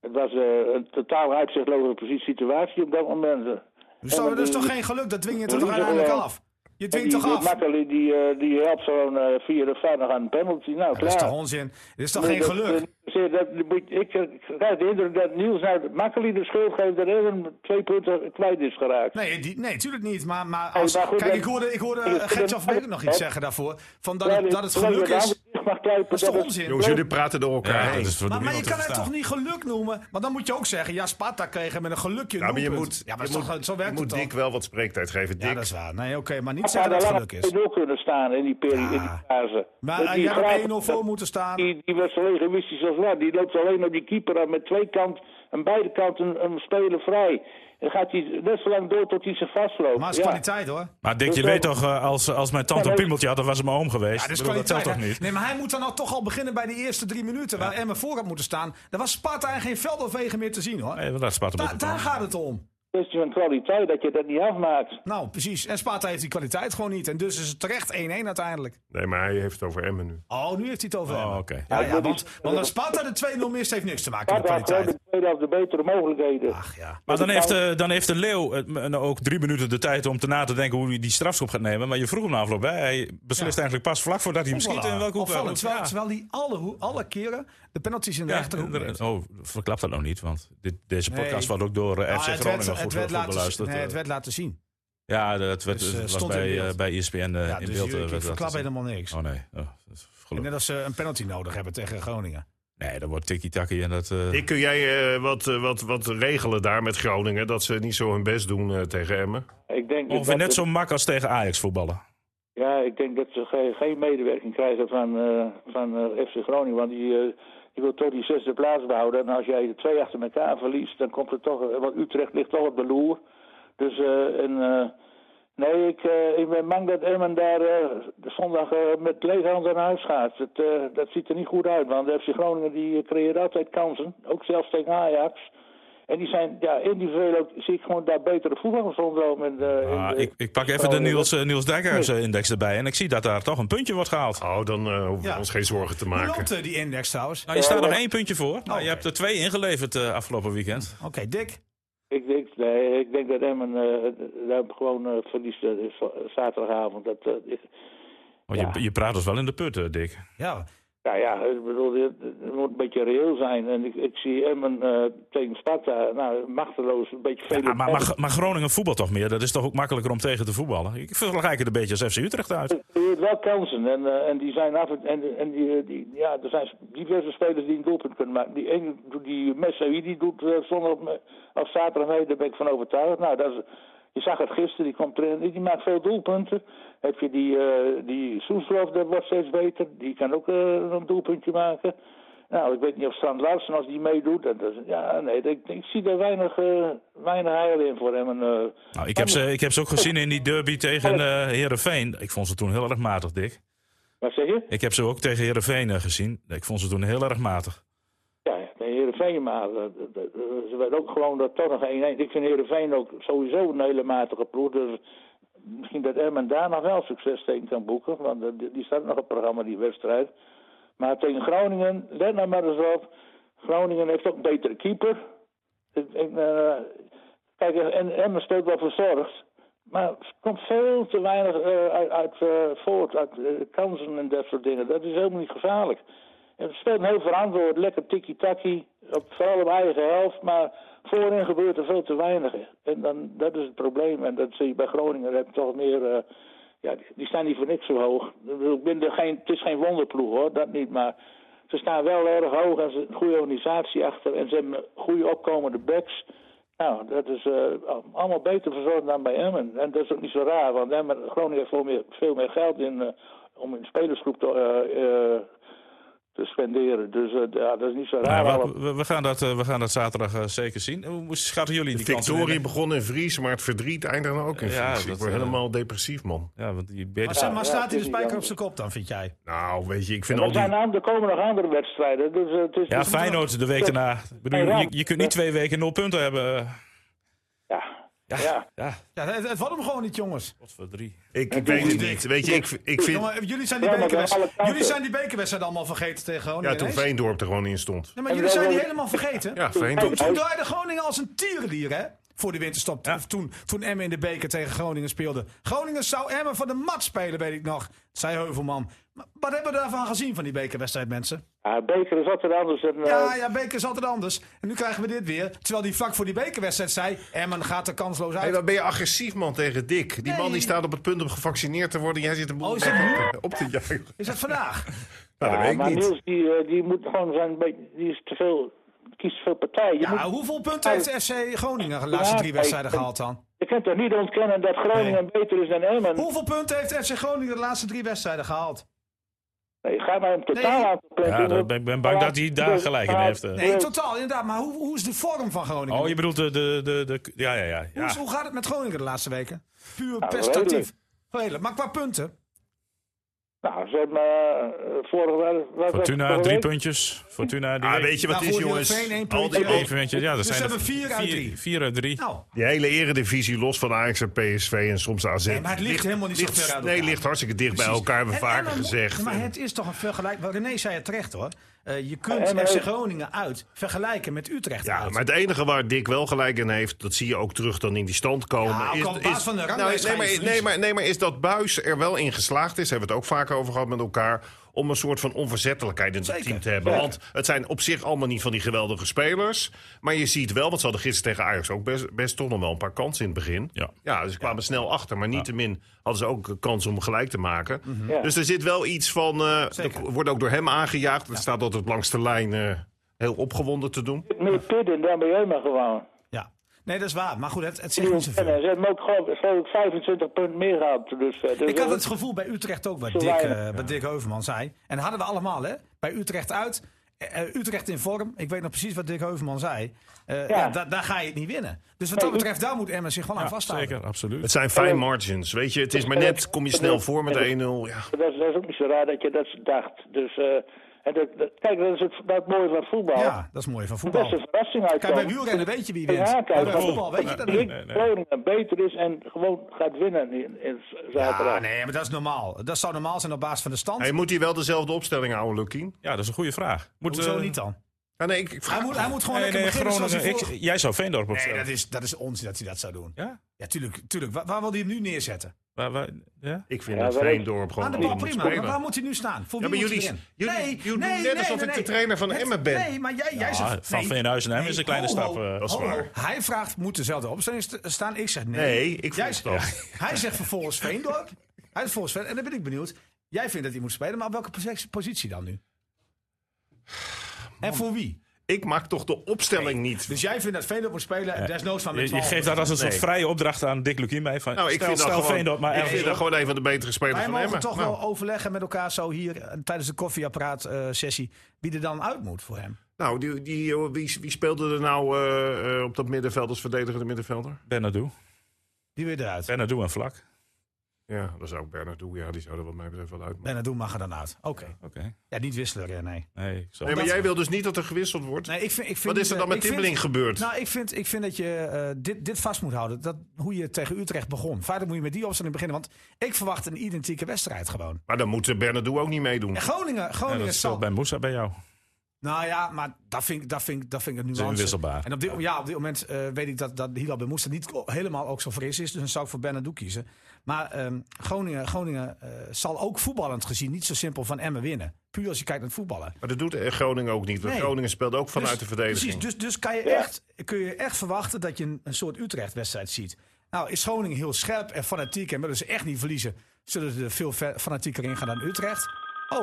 [SPEAKER 4] Het was eh, een totaal uitzichtloze precies situatie op dat moment.
[SPEAKER 1] Dus toch, dat is toch geen geluk? Dat dwing je
[SPEAKER 4] we
[SPEAKER 1] toch
[SPEAKER 4] moeten
[SPEAKER 1] uiteindelijk
[SPEAKER 4] gewoon-
[SPEAKER 1] af? Je
[SPEAKER 4] Die,
[SPEAKER 1] dwingt
[SPEAKER 4] die
[SPEAKER 1] toch af?
[SPEAKER 4] Makkeli die, eh, die helpt zo'n eh, vier of vijf nog aan een penalty. Nou,
[SPEAKER 1] Dat
[SPEAKER 4] klaar.
[SPEAKER 1] is toch onzin? Dit is toch
[SPEAKER 4] Nee,
[SPEAKER 1] geen
[SPEAKER 4] dat-
[SPEAKER 1] geluk?
[SPEAKER 4] dat- dat- dat moet- Ik eh, krijg de indruk dat Niels nou Makkeli de schuld geeft dat Ellen twee punten kwijt is geraakt.
[SPEAKER 1] Nee, die, nee, tuurlijk niet. Maar, maar als,
[SPEAKER 4] maar goed,
[SPEAKER 1] kijk,
[SPEAKER 4] dat-
[SPEAKER 1] ik hoorde, ik hoorde
[SPEAKER 4] dat is-
[SPEAKER 1] eh, Gertjan van Beek nog iets
[SPEAKER 4] dat-
[SPEAKER 1] zeggen daarvoor. Van dat, het, dat het geluk is.
[SPEAKER 4] Dat
[SPEAKER 1] Dat is toch onzin?
[SPEAKER 5] Jongens, jullie praten door elkaar
[SPEAKER 3] Ja,
[SPEAKER 5] heen.
[SPEAKER 3] dat is voor
[SPEAKER 1] Maar, maar je
[SPEAKER 3] niemand te
[SPEAKER 1] kan het toch
[SPEAKER 3] verstaan.
[SPEAKER 1] niet geluk noemen? Want dan moet je ook zeggen, ja, Sparta kreeg hem met een gelukje. een
[SPEAKER 5] Ja, maar je
[SPEAKER 1] doelpunt.
[SPEAKER 5] moet,
[SPEAKER 1] ja, maar
[SPEAKER 5] je
[SPEAKER 1] is toch-
[SPEAKER 5] moet,
[SPEAKER 1] zo werkt
[SPEAKER 5] je moet
[SPEAKER 1] het
[SPEAKER 5] Dick
[SPEAKER 1] toch?
[SPEAKER 5] wel wat spreektijd geven. Dick.
[SPEAKER 1] Ja, dat is waar. Nee, oké, maar niet
[SPEAKER 4] Ja,
[SPEAKER 1] zeggen
[SPEAKER 4] daar
[SPEAKER 1] dat het
[SPEAKER 4] had
[SPEAKER 1] geluk is.
[SPEAKER 4] 2-0 kunnen staan in die, peri-
[SPEAKER 1] Ja.
[SPEAKER 4] in die fase.
[SPEAKER 1] Maar
[SPEAKER 4] Dat
[SPEAKER 1] eh,
[SPEAKER 4] die
[SPEAKER 1] jij
[SPEAKER 4] graag-
[SPEAKER 1] had 1-0 voor moeten staan.
[SPEAKER 4] Die, die was zo egoïstisch als waar. Die loopt alleen op die keeper aan met twee kant, aan beide kanten een, een speler vrij. Dan gaat hij net zo lang door tot hij ze vastloopt.
[SPEAKER 1] Maar het is
[SPEAKER 4] Ja.
[SPEAKER 1] kwaliteit hoor.
[SPEAKER 3] Maar Dick, je weet toch, eh, als, als mijn tante een piemeltje had, dan was het mijn oom geweest.
[SPEAKER 1] Ja, dit is
[SPEAKER 3] Ik bedoel, dat
[SPEAKER 1] kwaliteit.
[SPEAKER 3] telt toch
[SPEAKER 1] hè?
[SPEAKER 3] niet?
[SPEAKER 1] Nee, maar hij moet dan al toch al beginnen bij de eerste drie minuten. Waar Emmen voor had moeten staan. Daar was Sparta en geen veld of wegen meer te zien hoor.
[SPEAKER 3] Nee, want daar spaat
[SPEAKER 1] Da- daar gaat het om.
[SPEAKER 4] kwestie van dus kwaliteit dat je dat niet afmaakt.
[SPEAKER 1] Nou, precies. En Sparta heeft die kwaliteit gewoon niet. En dus is het terecht 1-1 uiteindelijk.
[SPEAKER 5] Nee, maar hij heeft het over Emmen nu.
[SPEAKER 1] Oh, nu heeft hij het over
[SPEAKER 3] Oh,
[SPEAKER 1] Emmen.
[SPEAKER 3] oké.
[SPEAKER 1] Ja, ja,
[SPEAKER 4] dat
[SPEAKER 1] want,
[SPEAKER 4] is-
[SPEAKER 1] want als Sparta de 2-0 mist, heeft niks te maken met
[SPEAKER 4] Sparta heeft gewoon
[SPEAKER 1] kwaliteit. Ah.
[SPEAKER 4] de tweede helft de betere mogelijkheden.
[SPEAKER 1] Ach ja.
[SPEAKER 3] Maar dan heeft, eh, dan heeft de Leeuw eh, m- nou ook drie minuten de tijd om te na te denken hoe hij die strafschop gaat nemen. Maar je vroeg hem na afloop. Hè? Hij beslist eigenlijk pas vlak voordat hij hem schiet. In welke hoek hij
[SPEAKER 1] Opvallend.
[SPEAKER 3] moet.
[SPEAKER 1] Terwijl,
[SPEAKER 3] Ja.
[SPEAKER 1] terwijl hij alle, hoe- alle keren de penalties in de rechterhoek
[SPEAKER 3] Ja,
[SPEAKER 1] neemt.
[SPEAKER 3] oh, verklap dat nou niet, want dit, deze
[SPEAKER 1] Nee.
[SPEAKER 3] podcast wordt ook door eh,
[SPEAKER 1] Ah,
[SPEAKER 3] FC Groningen goed, eh. goed
[SPEAKER 1] laten,
[SPEAKER 3] beluisterd.
[SPEAKER 1] nee, het werd laten zien.
[SPEAKER 3] ja, dat werd,
[SPEAKER 1] Dus, eh,
[SPEAKER 3] het was
[SPEAKER 1] stond in
[SPEAKER 3] bij,
[SPEAKER 1] beeld.
[SPEAKER 3] eh, bij ESPN eh,
[SPEAKER 1] Ja,
[SPEAKER 3] in
[SPEAKER 1] dus
[SPEAKER 3] beeld.
[SPEAKER 1] jullie-
[SPEAKER 3] eh,
[SPEAKER 1] ik
[SPEAKER 3] werd dat
[SPEAKER 1] verklap
[SPEAKER 3] gezien.
[SPEAKER 1] helemaal niks.
[SPEAKER 3] Oh nee, oh, dat is gelukkig.
[SPEAKER 1] Net als ze een penalty nodig hebben tegen Groningen.
[SPEAKER 3] Nee, dat wordt tiki-taki en dat... eh,
[SPEAKER 5] Ik, kun jij eh, wat, eh, wat, wat regelen daar met Groningen? Dat ze niet zo hun best doen eh, tegen Emmen?
[SPEAKER 4] Ik denk dat
[SPEAKER 3] Ongeveer
[SPEAKER 4] dat-
[SPEAKER 3] net zo mak als tegen Ajax voetballen.
[SPEAKER 4] Ja, ik denk dat ze ge- geen medewerking krijgen van, eh, van eh, FC Groningen. Want die, eh, die wil toch die zesde plaats behouden. En als jij de twee achter elkaar verliest, dan komt er toch... eh, Want Utrecht ligt toch op de loer. Dus, eh, en, eh, nee, ik, eh, ik ben bang dat Emmen daar eh, de zondag eh, met lege handen naar huis gaat. Het, eh, dat ziet er niet goed uit. Want de FC Groningen die eh, creëert altijd kansen. Ook zelfs tegen Ajax. En die zijn, ja, individueel ook, zie ik gewoon daar betere voetballers rondlopen. En, eh, en,
[SPEAKER 3] Ah,
[SPEAKER 4] eh,
[SPEAKER 3] ik, ik pak even de
[SPEAKER 4] Groningen.
[SPEAKER 3] Niels, eh, Niels Dijkhuis-index erbij en ik zie dat daar toch een puntje wordt gehaald. Nou,
[SPEAKER 5] Oh, dan eh, hoeven we
[SPEAKER 1] Ja.
[SPEAKER 5] ons geen zorgen te
[SPEAKER 1] Hoe
[SPEAKER 5] maken.
[SPEAKER 1] loopt eh, die index trouwens?
[SPEAKER 3] Nou, je staat nog één puntje voor. Nou,
[SPEAKER 1] oké.
[SPEAKER 3] Je hebt er twee ingeleverd eh, afgelopen weekend.
[SPEAKER 1] Oké, Dick.
[SPEAKER 4] Ik denk, nee, ik denk dat Emmen eh, daar gewoon eh, verliest eh, z- zaterdagavond. Dat, eh, is-
[SPEAKER 3] Want je, je praat dus wel in de put, eh, Dick.
[SPEAKER 1] Ja,
[SPEAKER 4] nou ja, ik bedoel, dit- het moet een beetje reëel zijn. En ik, ik zie Emmen eh, tegen Sparta, nou, machteloos, een beetje veel.
[SPEAKER 3] Ja, Ah, maar, maar, maar Groningen voetbalt toch meer? Dat is toch ook makkelijker om tegen te voetballen? Ik vergelijk het een beetje als FC Utrecht uit.
[SPEAKER 4] creëert wel kansen. En, eh, en die zijn af en, en, en die, eh, die, ja, er zijn diverse spelers die een doelpunt kunnen maken. Die, ene doet- die Messaoui die doet eh, zondag op, me- of zaterdag mee, daar ben ik van overtuigd. Nou, dat is, je zag het gisteren, die komt erin, die, die maakt veel doelpunten. Heb je die, eh die Soeslof, dat wordt steeds beter. Die kan ook eh, een doelpuntje maken. Nou, ik weet niet of Strand Larsen als die meedoet. Dat is, ja, nee, ik, ik zie daar weinig, eh, weinig heil in voor hem. En, eh,
[SPEAKER 3] Nou, ik, heb ze, ik heb ze ook gezien in die derby tegen eh Heerenveen. Ik vond ze toen heel erg matig, Dick.
[SPEAKER 4] wat zeg je?
[SPEAKER 3] Ik heb ze ook tegen Heerenveen eh, gezien. Ik vond ze toen heel erg matig.
[SPEAKER 4] Ja, de Heerenveen, maar eh, d- d- d- ze werd ook gewoon dat toch nog 1-1. Ik vind Heerenveen ook sowieso een hele matige ploeg. Dus misschien dat Emmen daar nog wel succes tegen kan boeken. Want eh, die- die staat nog op het programma, die wedstrijd. Maar tegen Groningen, let nou maar eens op. Groningen heeft ook een betere keeper. Ik- ik, eh, kijk, eh, en Emmen speelt wel verzorgd. Maar er komt veel te weinig eh, uit, uit, eh, voort, uit eh, kansen en dat soort dingen. Dat is helemaal niet gevaarlijk. En Het speelt heel verantwoord, lekker tiki-taki, op, vooral op eigen helft. Maar voorin gebeurt er veel te weinig. En dan, dat is het probleem. En dat zie je bij Groningen, daar heb je toch meer... eh, ja, die, die staan niet voor niks zo hoog. Ik bedoel, Ik ben er geen, het is geen wonderploeg hoor, dat niet. Maar ze staan wel erg hoog en ze hebben een goede organisatie achter. En ze hebben een goede opkomende backs. Nou, dat is eh, allemaal beter verzorgd dan bij Emmen. En dat is ook niet zo raar, want Emmen, Groningen heeft veel meer, veel meer geld in, eh, om in de spelersgroep te, eh, eh, te spenderen. Dus eh, ja, dat is niet zo raar.
[SPEAKER 3] Nou,
[SPEAKER 4] allemaal.
[SPEAKER 3] we, we- we gaan dat, eh, we gaan dat zaterdag eh, zeker zien. Hoe hoe schatten jullie die kansen
[SPEAKER 5] Victorie
[SPEAKER 3] in?
[SPEAKER 5] begon in Vries, maar het verdriet eindigde dan ook in
[SPEAKER 3] Ja,
[SPEAKER 5] Vries. Ik
[SPEAKER 3] dat,
[SPEAKER 5] word
[SPEAKER 3] eh,
[SPEAKER 5] helemaal depressief, man.
[SPEAKER 3] Ja, want die Beerden-
[SPEAKER 1] Maar, zeg,
[SPEAKER 4] ja,
[SPEAKER 1] maar staat
[SPEAKER 4] het
[SPEAKER 1] hij
[SPEAKER 4] is
[SPEAKER 1] de
[SPEAKER 4] niet
[SPEAKER 1] spijker
[SPEAKER 4] jammer.
[SPEAKER 1] op zijn kop dan, vind jij?
[SPEAKER 5] Nou, weet je, ik vind
[SPEAKER 4] er,
[SPEAKER 5] al die...
[SPEAKER 4] zijn aan, er komen nog andere wedstrijden. Dus, eh, het is
[SPEAKER 3] ja,
[SPEAKER 4] dus-
[SPEAKER 3] Feyenoord de week daarna. Ik bedoel, je, je kunt niet twee weken nul punten hebben.
[SPEAKER 4] Ja.
[SPEAKER 3] Ja, ja.
[SPEAKER 4] Ja.
[SPEAKER 1] Ja, het, het wordt hem gewoon niet, jongens.
[SPEAKER 3] Wat voor drie.
[SPEAKER 5] Ik, ik weet het niet. Weet je, ik, ik vind...
[SPEAKER 1] Jongen, eh, jullie zijn die
[SPEAKER 4] Ja, maar bij
[SPEAKER 1] bekerwedstrijd-
[SPEAKER 4] alle kanten.
[SPEAKER 1] jullie zijn die bekerwedstrijd allemaal vergeten tegen Groningen.
[SPEAKER 5] Ja, toen
[SPEAKER 1] ineens.
[SPEAKER 5] Veendorp er gewoon in stond.
[SPEAKER 1] Nee, maar
[SPEAKER 4] En
[SPEAKER 1] jullie zijn die
[SPEAKER 4] wel-
[SPEAKER 1] helemaal vergeten.
[SPEAKER 5] Ja,
[SPEAKER 1] Toen,
[SPEAKER 5] Veendorp.
[SPEAKER 1] toen draaide Groningen als een tierenlier, hè? Voor de winterstop.
[SPEAKER 3] Ja.
[SPEAKER 1] Of Toen, toen Emmen in de beker tegen Groningen speelde. Groningen zou Emmen van de mat spelen, weet ik nog. Zei Heuvelman. Maar wat hebben we daarvan gezien van die bekerwedstrijd, mensen?
[SPEAKER 4] Ja, beker is altijd anders dan... eh,
[SPEAKER 1] Ja, ja, beker is altijd anders. En nu krijgen we dit weer. Terwijl die vlak voor die bekerwedstrijd zei... Emmen gaat er kansloos
[SPEAKER 5] Hey,
[SPEAKER 1] uit.
[SPEAKER 5] wat ben je agressief, man, tegen Dick. Die man die staat op het punt om gevaccineerd te worden. Jij zit hem
[SPEAKER 1] Oh, is dat nu?
[SPEAKER 5] op te jagen.
[SPEAKER 1] Is dat vandaag?
[SPEAKER 5] Nou, dat weet ik
[SPEAKER 4] Ah, maar
[SPEAKER 5] niet.
[SPEAKER 4] Niels, die, eh, die moet gewoon zijn... be- Die is te veel... Kiest te veel partij. Je,
[SPEAKER 1] Ja,
[SPEAKER 4] moet,
[SPEAKER 1] Nou, hoeveel punten heeft de FC Groningen de laatste drie wedstrijden gehaald dan?
[SPEAKER 4] je kunt toch niet ontkennen dat Groningen beter is dan Emmen?
[SPEAKER 1] Hoeveel punten heeft FC Groningen de laatste drie wedstrijden gehaald?
[SPEAKER 4] Nee, ga maar een totaal
[SPEAKER 1] Nee.
[SPEAKER 4] aantal punten.
[SPEAKER 3] Ja, dat- ik ben bang dat hij daar gelijk
[SPEAKER 4] nou,
[SPEAKER 3] in heeft, eh.
[SPEAKER 1] Nee, in totaal inderdaad. Maar hoe, hoe is de vorm van Groningen?
[SPEAKER 3] Oh, je bedoelt de... de, de, de ja, ja, ja.
[SPEAKER 1] Hoe,
[SPEAKER 3] ja.
[SPEAKER 1] is- hoe gaat het met Groningen de laatste weken? Puur
[SPEAKER 4] Nou,
[SPEAKER 1] prestatief.
[SPEAKER 4] redelijk.
[SPEAKER 1] Redelijk. Maar qua punten.
[SPEAKER 4] Nou, ze hebben eh, vorige week... wat- wat-
[SPEAKER 3] Fortuna,
[SPEAKER 4] vorige
[SPEAKER 3] drie
[SPEAKER 4] week?
[SPEAKER 3] puntjes. Fortuna, die
[SPEAKER 5] Ah, weet je wat
[SPEAKER 1] Nou,
[SPEAKER 5] het is,
[SPEAKER 1] voor
[SPEAKER 5] jongens?
[SPEAKER 1] Heerenveen één
[SPEAKER 5] Al die,
[SPEAKER 1] puntje.
[SPEAKER 5] even-
[SPEAKER 3] Even eentje, ja, dat
[SPEAKER 1] Dus
[SPEAKER 3] zijn
[SPEAKER 1] ze
[SPEAKER 3] er
[SPEAKER 1] hebben vier uit drie.
[SPEAKER 3] Vier uit drie.
[SPEAKER 1] Nou,
[SPEAKER 5] die hele eredivisie, los van Ajax en PSV en soms AZ.
[SPEAKER 1] maar het ligt helemaal niet zo
[SPEAKER 5] ligt,
[SPEAKER 1] ver uit
[SPEAKER 5] Nee,
[SPEAKER 1] elkaar.
[SPEAKER 5] ligt hartstikke dicht bij elkaar, hebben we
[SPEAKER 1] En
[SPEAKER 5] vaker
[SPEAKER 1] Emmen moet-
[SPEAKER 5] gezegd.
[SPEAKER 1] Maar
[SPEAKER 5] En-
[SPEAKER 1] het is toch een vergelijking. René zei het terecht hoor. Eh, je kunt
[SPEAKER 4] Emmen
[SPEAKER 1] FC
[SPEAKER 4] ook.
[SPEAKER 1] Groningen uit vergelijken met Utrecht
[SPEAKER 5] Ja,
[SPEAKER 1] uit.
[SPEAKER 5] maar het enige waar Dick wel gelijk in heeft, dat zie je ook terug dan in die stand komen.
[SPEAKER 1] Ja, ook al op basis van de nou, ranglijst
[SPEAKER 5] nee,
[SPEAKER 1] ga
[SPEAKER 5] maar,
[SPEAKER 1] je
[SPEAKER 5] nee,
[SPEAKER 1] verliezen.
[SPEAKER 5] maar, nee, maar is dat Buis er wel in geslaagd is, hebben we het ook vaak over gehad met elkaar, om een soort van onverzettelijkheid in het
[SPEAKER 1] Zeker,
[SPEAKER 5] team te hebben. Want het zijn op zich allemaal niet van die geweldige spelers. Maar je ziet wel, want ze hadden gisteren tegen Ajax ook best, best toch nog wel een paar kansen in het begin.
[SPEAKER 3] Ja.
[SPEAKER 5] dus ze kwamen snel achter. Maar niettemin hadden ze ook een kans om gelijk te maken.
[SPEAKER 4] Ja.
[SPEAKER 5] Dus er zit wel iets van, eh er
[SPEAKER 1] Mhm. Zeker.
[SPEAKER 5] wordt ook door hem aangejaagd. Dat staat altijd langs de lijn eh, heel opgewonden te doen.
[SPEAKER 4] Meer pit in, dan ben jij maar gewoon.
[SPEAKER 1] Ja. Nee, dat is waar. Maar goed, het, het zegt
[SPEAKER 4] En eh,
[SPEAKER 1] niet
[SPEAKER 4] ze
[SPEAKER 1] zoveel.
[SPEAKER 4] hebben ook gewoon, geloof ik, 25 punten meer gehad. Dus, eh, dus
[SPEAKER 1] Ik had
[SPEAKER 4] dat-
[SPEAKER 1] het gevoel bij Utrecht ook, wat
[SPEAKER 4] Zo
[SPEAKER 1] Dick,
[SPEAKER 4] weinig.
[SPEAKER 1] eh, wat Dick Heuvelman zei. En dat hadden we allemaal, hè? Bij Utrecht uit, eh, eh, Utrecht in vorm. Ik weet nog precies wat Dick Heuvelman zei. Eh,
[SPEAKER 4] Ja.
[SPEAKER 1] ja. da- daar ga je het niet winnen. Dus wat dat betreft, daar moet Emmen zich gewoon aan
[SPEAKER 3] Ja,
[SPEAKER 1] vasthouden.
[SPEAKER 3] zeker,
[SPEAKER 5] Het
[SPEAKER 3] absoluut.
[SPEAKER 5] zijn fine margins, weet je. Het is maar net, kom je snel voor met 1-0. Ja.
[SPEAKER 4] Dat is, dat is ook niet zo raar dat je dat dacht. Dus, eh, en dat, dat- kijk, dat is het, dat mooie van voetbal.
[SPEAKER 1] Ja, dat is mooi van
[SPEAKER 4] Dat is een
[SPEAKER 1] voetbal.
[SPEAKER 4] verrassing
[SPEAKER 1] Kijk, bij
[SPEAKER 4] uitkomen.
[SPEAKER 1] wielrennen weet je wie
[SPEAKER 4] Ja,
[SPEAKER 1] wint.
[SPEAKER 4] kijk,
[SPEAKER 1] Maar bij
[SPEAKER 4] dat-
[SPEAKER 1] voetbal weet je dat
[SPEAKER 4] Ik
[SPEAKER 1] niet.
[SPEAKER 3] nee, nee.
[SPEAKER 4] Groningen beter is en gewoon gaat winnen in, in zaterdag.
[SPEAKER 1] Ja, nee, maar dat is normaal. Dat zou normaal zijn op basis van de stand.
[SPEAKER 5] Hij moet hij wel dezelfde opstelling houden, Lukien?
[SPEAKER 3] Ja, dat is een goede vraag. Moet,
[SPEAKER 1] Hoezo
[SPEAKER 3] eh,
[SPEAKER 1] niet dan?
[SPEAKER 5] Ja, nee, ik, ik vraag
[SPEAKER 1] Hij moet, hij moet gewoon
[SPEAKER 3] Nee,
[SPEAKER 1] lekker
[SPEAKER 3] nee,
[SPEAKER 1] beginnen zoals hij
[SPEAKER 3] Groningen. Ik,
[SPEAKER 1] vorig-
[SPEAKER 3] jij zou Veendorp
[SPEAKER 1] Nee,
[SPEAKER 3] opstellen.
[SPEAKER 1] dat is, dat is onzin dat hij dat zou doen.
[SPEAKER 3] Ja?
[SPEAKER 1] Ja, tuurlijk. tuurlijk. Waar, waar wil hij hem nu neerzetten?
[SPEAKER 3] Waar- waar- ja?
[SPEAKER 5] Ik vind
[SPEAKER 4] Ja,
[SPEAKER 5] dat
[SPEAKER 4] waarom?
[SPEAKER 5] Veendorp gewoon
[SPEAKER 1] Aan de
[SPEAKER 5] niet
[SPEAKER 1] bal
[SPEAKER 5] moet
[SPEAKER 1] Ah, prima, maar
[SPEAKER 5] spelen.
[SPEAKER 1] waar moet hij nu staan? Voor
[SPEAKER 5] Ja,
[SPEAKER 1] wie
[SPEAKER 5] maar
[SPEAKER 1] moet hij
[SPEAKER 5] jullie-
[SPEAKER 1] erin?
[SPEAKER 5] jullie- jullie doen net alsof ik de trainer van
[SPEAKER 1] Het-
[SPEAKER 5] Emmen ben.
[SPEAKER 1] Nee, maar jij, jij
[SPEAKER 3] Ja,
[SPEAKER 1] zegt...
[SPEAKER 3] van
[SPEAKER 1] nee,
[SPEAKER 3] Veenhuizen en Emmen is een kleine
[SPEAKER 1] ho, ho,
[SPEAKER 3] stap, eh, dat is
[SPEAKER 1] ho, ho.
[SPEAKER 3] waar.
[SPEAKER 1] Hij vraagt, moet dezelfde opstelling st- staan? Ik zeg nee.
[SPEAKER 5] Nee, ik vind
[SPEAKER 1] Jij
[SPEAKER 5] het
[SPEAKER 1] zegt-
[SPEAKER 5] dat.
[SPEAKER 1] Hij zegt vervolgens Veendorp. Hij is volgens Veendorp. En dan ben ik benieuwd. Jij vindt dat hij moet spelen, maar op welke pos- positie dan nu? En voor wie?
[SPEAKER 5] Ik maak toch de opstelling niet.
[SPEAKER 1] Dus jij vindt dat Veendorp moet spelen en desnoods van
[SPEAKER 3] Je,
[SPEAKER 1] met
[SPEAKER 3] je
[SPEAKER 1] 12.
[SPEAKER 3] geeft dat als een soort
[SPEAKER 5] Nee.
[SPEAKER 3] vrije opdracht aan Dick Lukien mee. Van,
[SPEAKER 5] Nou, ik
[SPEAKER 3] stel
[SPEAKER 5] vind dat
[SPEAKER 3] stel
[SPEAKER 5] gewoon,
[SPEAKER 3] Veendorp maar
[SPEAKER 5] ik
[SPEAKER 3] ergens
[SPEAKER 5] vind
[SPEAKER 3] op.
[SPEAKER 5] dat gewoon een van de betere spelers
[SPEAKER 1] Wij
[SPEAKER 5] van
[SPEAKER 1] mogen
[SPEAKER 5] Emmen.
[SPEAKER 1] toch
[SPEAKER 5] Nou,
[SPEAKER 1] wel overleggen met elkaar zo hier eh, tijdens de koffieapparaat-sessie wie er dan uit moet voor hem.
[SPEAKER 5] nou die, die, eh, wie, wie speelde er nou eh, eh, op dat middenveld als verdedigende middenvelder?
[SPEAKER 3] Bernardo.
[SPEAKER 1] Die weer eruit.
[SPEAKER 3] Bernardo en Vlak.
[SPEAKER 5] Ja, dat zou ook Bernard doen. Ja, die zou er wat mij betreft wel uit. moeten.
[SPEAKER 1] En dat doen mag er dan uit. Oké.
[SPEAKER 3] Oké.
[SPEAKER 1] Ja, niet wisselen, René. Nee.
[SPEAKER 3] Nee, ik zal-
[SPEAKER 5] Nee, maar jij wil dus niet dat er gewisseld wordt?
[SPEAKER 1] Nee, ik vind, ik vind,
[SPEAKER 5] Wat is er
[SPEAKER 1] eh,
[SPEAKER 5] dan met
[SPEAKER 1] ik vind-
[SPEAKER 5] Timmeling gebeurd?
[SPEAKER 1] Nou, ik vind, ik vind dat je eh, dit, dit vast moet houden. Dat, hoe je tegen Utrecht begon. Vader moet je met die opstelling beginnen. Want ik verwacht een identieke wedstrijd gewoon.
[SPEAKER 5] Maar dan moet eh, Bernardo ook niet meedoen.
[SPEAKER 1] En Groningen,
[SPEAKER 3] Ja,
[SPEAKER 1] Groningen
[SPEAKER 3] dat
[SPEAKER 1] zal...
[SPEAKER 3] speelt bij Moussa bij jou.
[SPEAKER 1] Nou ja, maar dat vind, ik- dat vind, ik- dat vind ik een nuance.
[SPEAKER 3] Zijn wisselbaar.
[SPEAKER 1] En op dit, ja, op dit moment eh, weet ik dat, dat Hilal Ben Moester niet ko- helemaal ook zo fris is. Dus dan zou ik voor Bernardo kiezen. Maar ehm, Groningen, Groningen eh, zal ook voetballend gezien niet zo simpel van Emmen winnen. Puur als je kijkt naar het voetballen.
[SPEAKER 5] Maar dat doet eh, Groningen ook niet. Want
[SPEAKER 1] Nee.
[SPEAKER 5] Groningen speelt ook vanuit
[SPEAKER 1] Dus-
[SPEAKER 5] de verdediging.
[SPEAKER 1] Precies, dus, dus kan je
[SPEAKER 4] Ja.
[SPEAKER 1] echt, kun je echt verwachten dat je een, een soort Utrecht-wedstrijd ziet. Nou, is Groningen heel scherp en fanatiek en willen ze echt niet verliezen, zullen ze er veel ver- fanatieker in gaan dan Utrecht. Oh,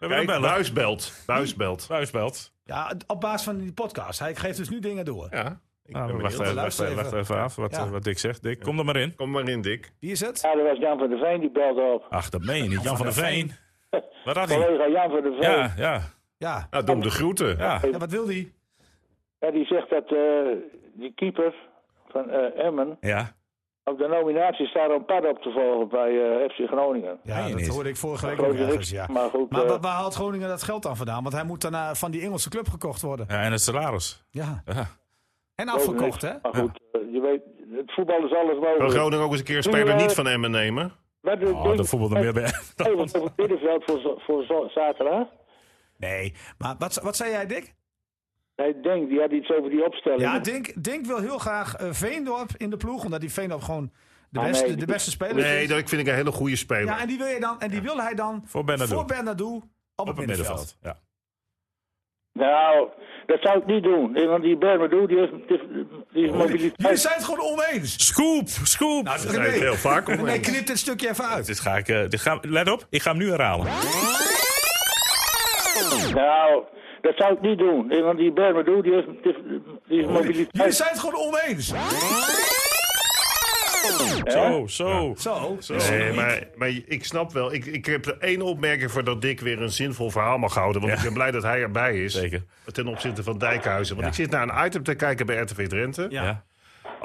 [SPEAKER 3] We hebben
[SPEAKER 5] Kijk,
[SPEAKER 3] een bellen.
[SPEAKER 5] Buis belt. Buis belt.
[SPEAKER 3] Buis belt.
[SPEAKER 1] ja, op basis van die podcast. Hij geeft dus nu dingen door.
[SPEAKER 5] Ja. Ik
[SPEAKER 3] Nou,
[SPEAKER 5] ben
[SPEAKER 3] wacht,
[SPEAKER 5] benieuwd.
[SPEAKER 3] even, wacht,
[SPEAKER 1] Luister
[SPEAKER 3] even, wacht
[SPEAKER 1] even.
[SPEAKER 3] even af wat,
[SPEAKER 1] Ja.
[SPEAKER 3] eh, wat Dick zegt. Dick, kom er maar in.
[SPEAKER 5] Kom maar in, Dick.
[SPEAKER 1] Wie is het?
[SPEAKER 4] Ja, dat was Jan van der Veen die belde op.
[SPEAKER 3] Ach, dat meen je niet. Jan van der Veen. Wat had hij?
[SPEAKER 4] Collega Jan van der Veen.
[SPEAKER 3] Ja, ja,
[SPEAKER 1] Ja,
[SPEAKER 5] Nou, doe hem de groeten.
[SPEAKER 3] ja.
[SPEAKER 1] ja wat wil die?
[SPEAKER 4] Ja, die zegt dat eh, die keeper van eh, Emmen
[SPEAKER 3] Ja,
[SPEAKER 4] op de nominatie staat om pad op te volgen bij eh, FC Groningen.
[SPEAKER 1] Ja,
[SPEAKER 3] Meen je
[SPEAKER 1] dat
[SPEAKER 3] niet?
[SPEAKER 1] hoorde ik vorige week
[SPEAKER 4] Geloof
[SPEAKER 1] ook
[SPEAKER 4] je niks,
[SPEAKER 1] ergens, ja.
[SPEAKER 4] Maar goed,
[SPEAKER 1] Maar
[SPEAKER 4] eh,
[SPEAKER 1] waar, waar haalt Groningen dat geld dan vandaan? Want hij moet daarna van die Engelse club gekocht worden.
[SPEAKER 3] Ja, en het salaris.
[SPEAKER 1] Ja.
[SPEAKER 3] Ja.
[SPEAKER 1] En
[SPEAKER 4] geloof je
[SPEAKER 1] afgekocht, hè?
[SPEAKER 4] niks. Maar goed, eh, je weet, het voetbal is alles
[SPEAKER 5] Wil
[SPEAKER 4] mogelijk.
[SPEAKER 5] Groningen ook eens een keer een speler niet van Emmen nemen?
[SPEAKER 4] Wat doet
[SPEAKER 3] Oh, dat voetbalde meer bij.
[SPEAKER 4] Even over het middenveld voor, zo- voor zo- zaterdag.
[SPEAKER 1] Nee, maar wat, wat zei jij, Dick?
[SPEAKER 4] Hij denkt, die had iets over die opstelling.
[SPEAKER 1] Ja, Dink, Dink wil heel graag eh, Veendorp in de ploeg. Omdat die Veendorp gewoon de
[SPEAKER 4] Ah,
[SPEAKER 1] beste,
[SPEAKER 4] nee,
[SPEAKER 1] de
[SPEAKER 4] die-
[SPEAKER 1] beste speler
[SPEAKER 5] Nee,
[SPEAKER 1] is.
[SPEAKER 5] dat vind ik een hele goede speler.
[SPEAKER 1] Ja, en die wil, je dan, en die wil hij dan
[SPEAKER 3] Voor Bernardo.
[SPEAKER 1] voor Bernardo op,
[SPEAKER 3] Op het middenveld. Ja.
[SPEAKER 4] Nou, dat zou ik niet doen. Eh, Want die Bermadou, die heeft, die heeft- die heeft
[SPEAKER 1] Jullie
[SPEAKER 4] mobiliteit.
[SPEAKER 1] zijn het gewoon oneens.
[SPEAKER 3] Scoop, scoop.
[SPEAKER 1] Nou,
[SPEAKER 5] Daar zijn we heel vaak om.
[SPEAKER 1] Nee, knip dit stukje even uit.
[SPEAKER 3] Dit ga ik, eh, dit ga, let op, ik ga hem nu herhalen.
[SPEAKER 4] Nou, dat zou ik niet doen. Eh, Want die Bermadou, die heeft, die heeft- die heeft
[SPEAKER 1] Jullie
[SPEAKER 4] mobiliteit.
[SPEAKER 1] zijn het gewoon oneens.
[SPEAKER 3] Zo, Oh, zo.
[SPEAKER 1] Zo.
[SPEAKER 5] Nee, maar, maar ik snap wel. Ik, ik heb er één opmerking voor dat Dick weer een zinvol verhaal mag houden. Want ik ben blij dat hij erbij is.
[SPEAKER 3] Zeker.
[SPEAKER 5] Ten opzichte van Dijkhuizen. Want ik zit naar een item te kijken bij RTV Drenthe.
[SPEAKER 3] Ja.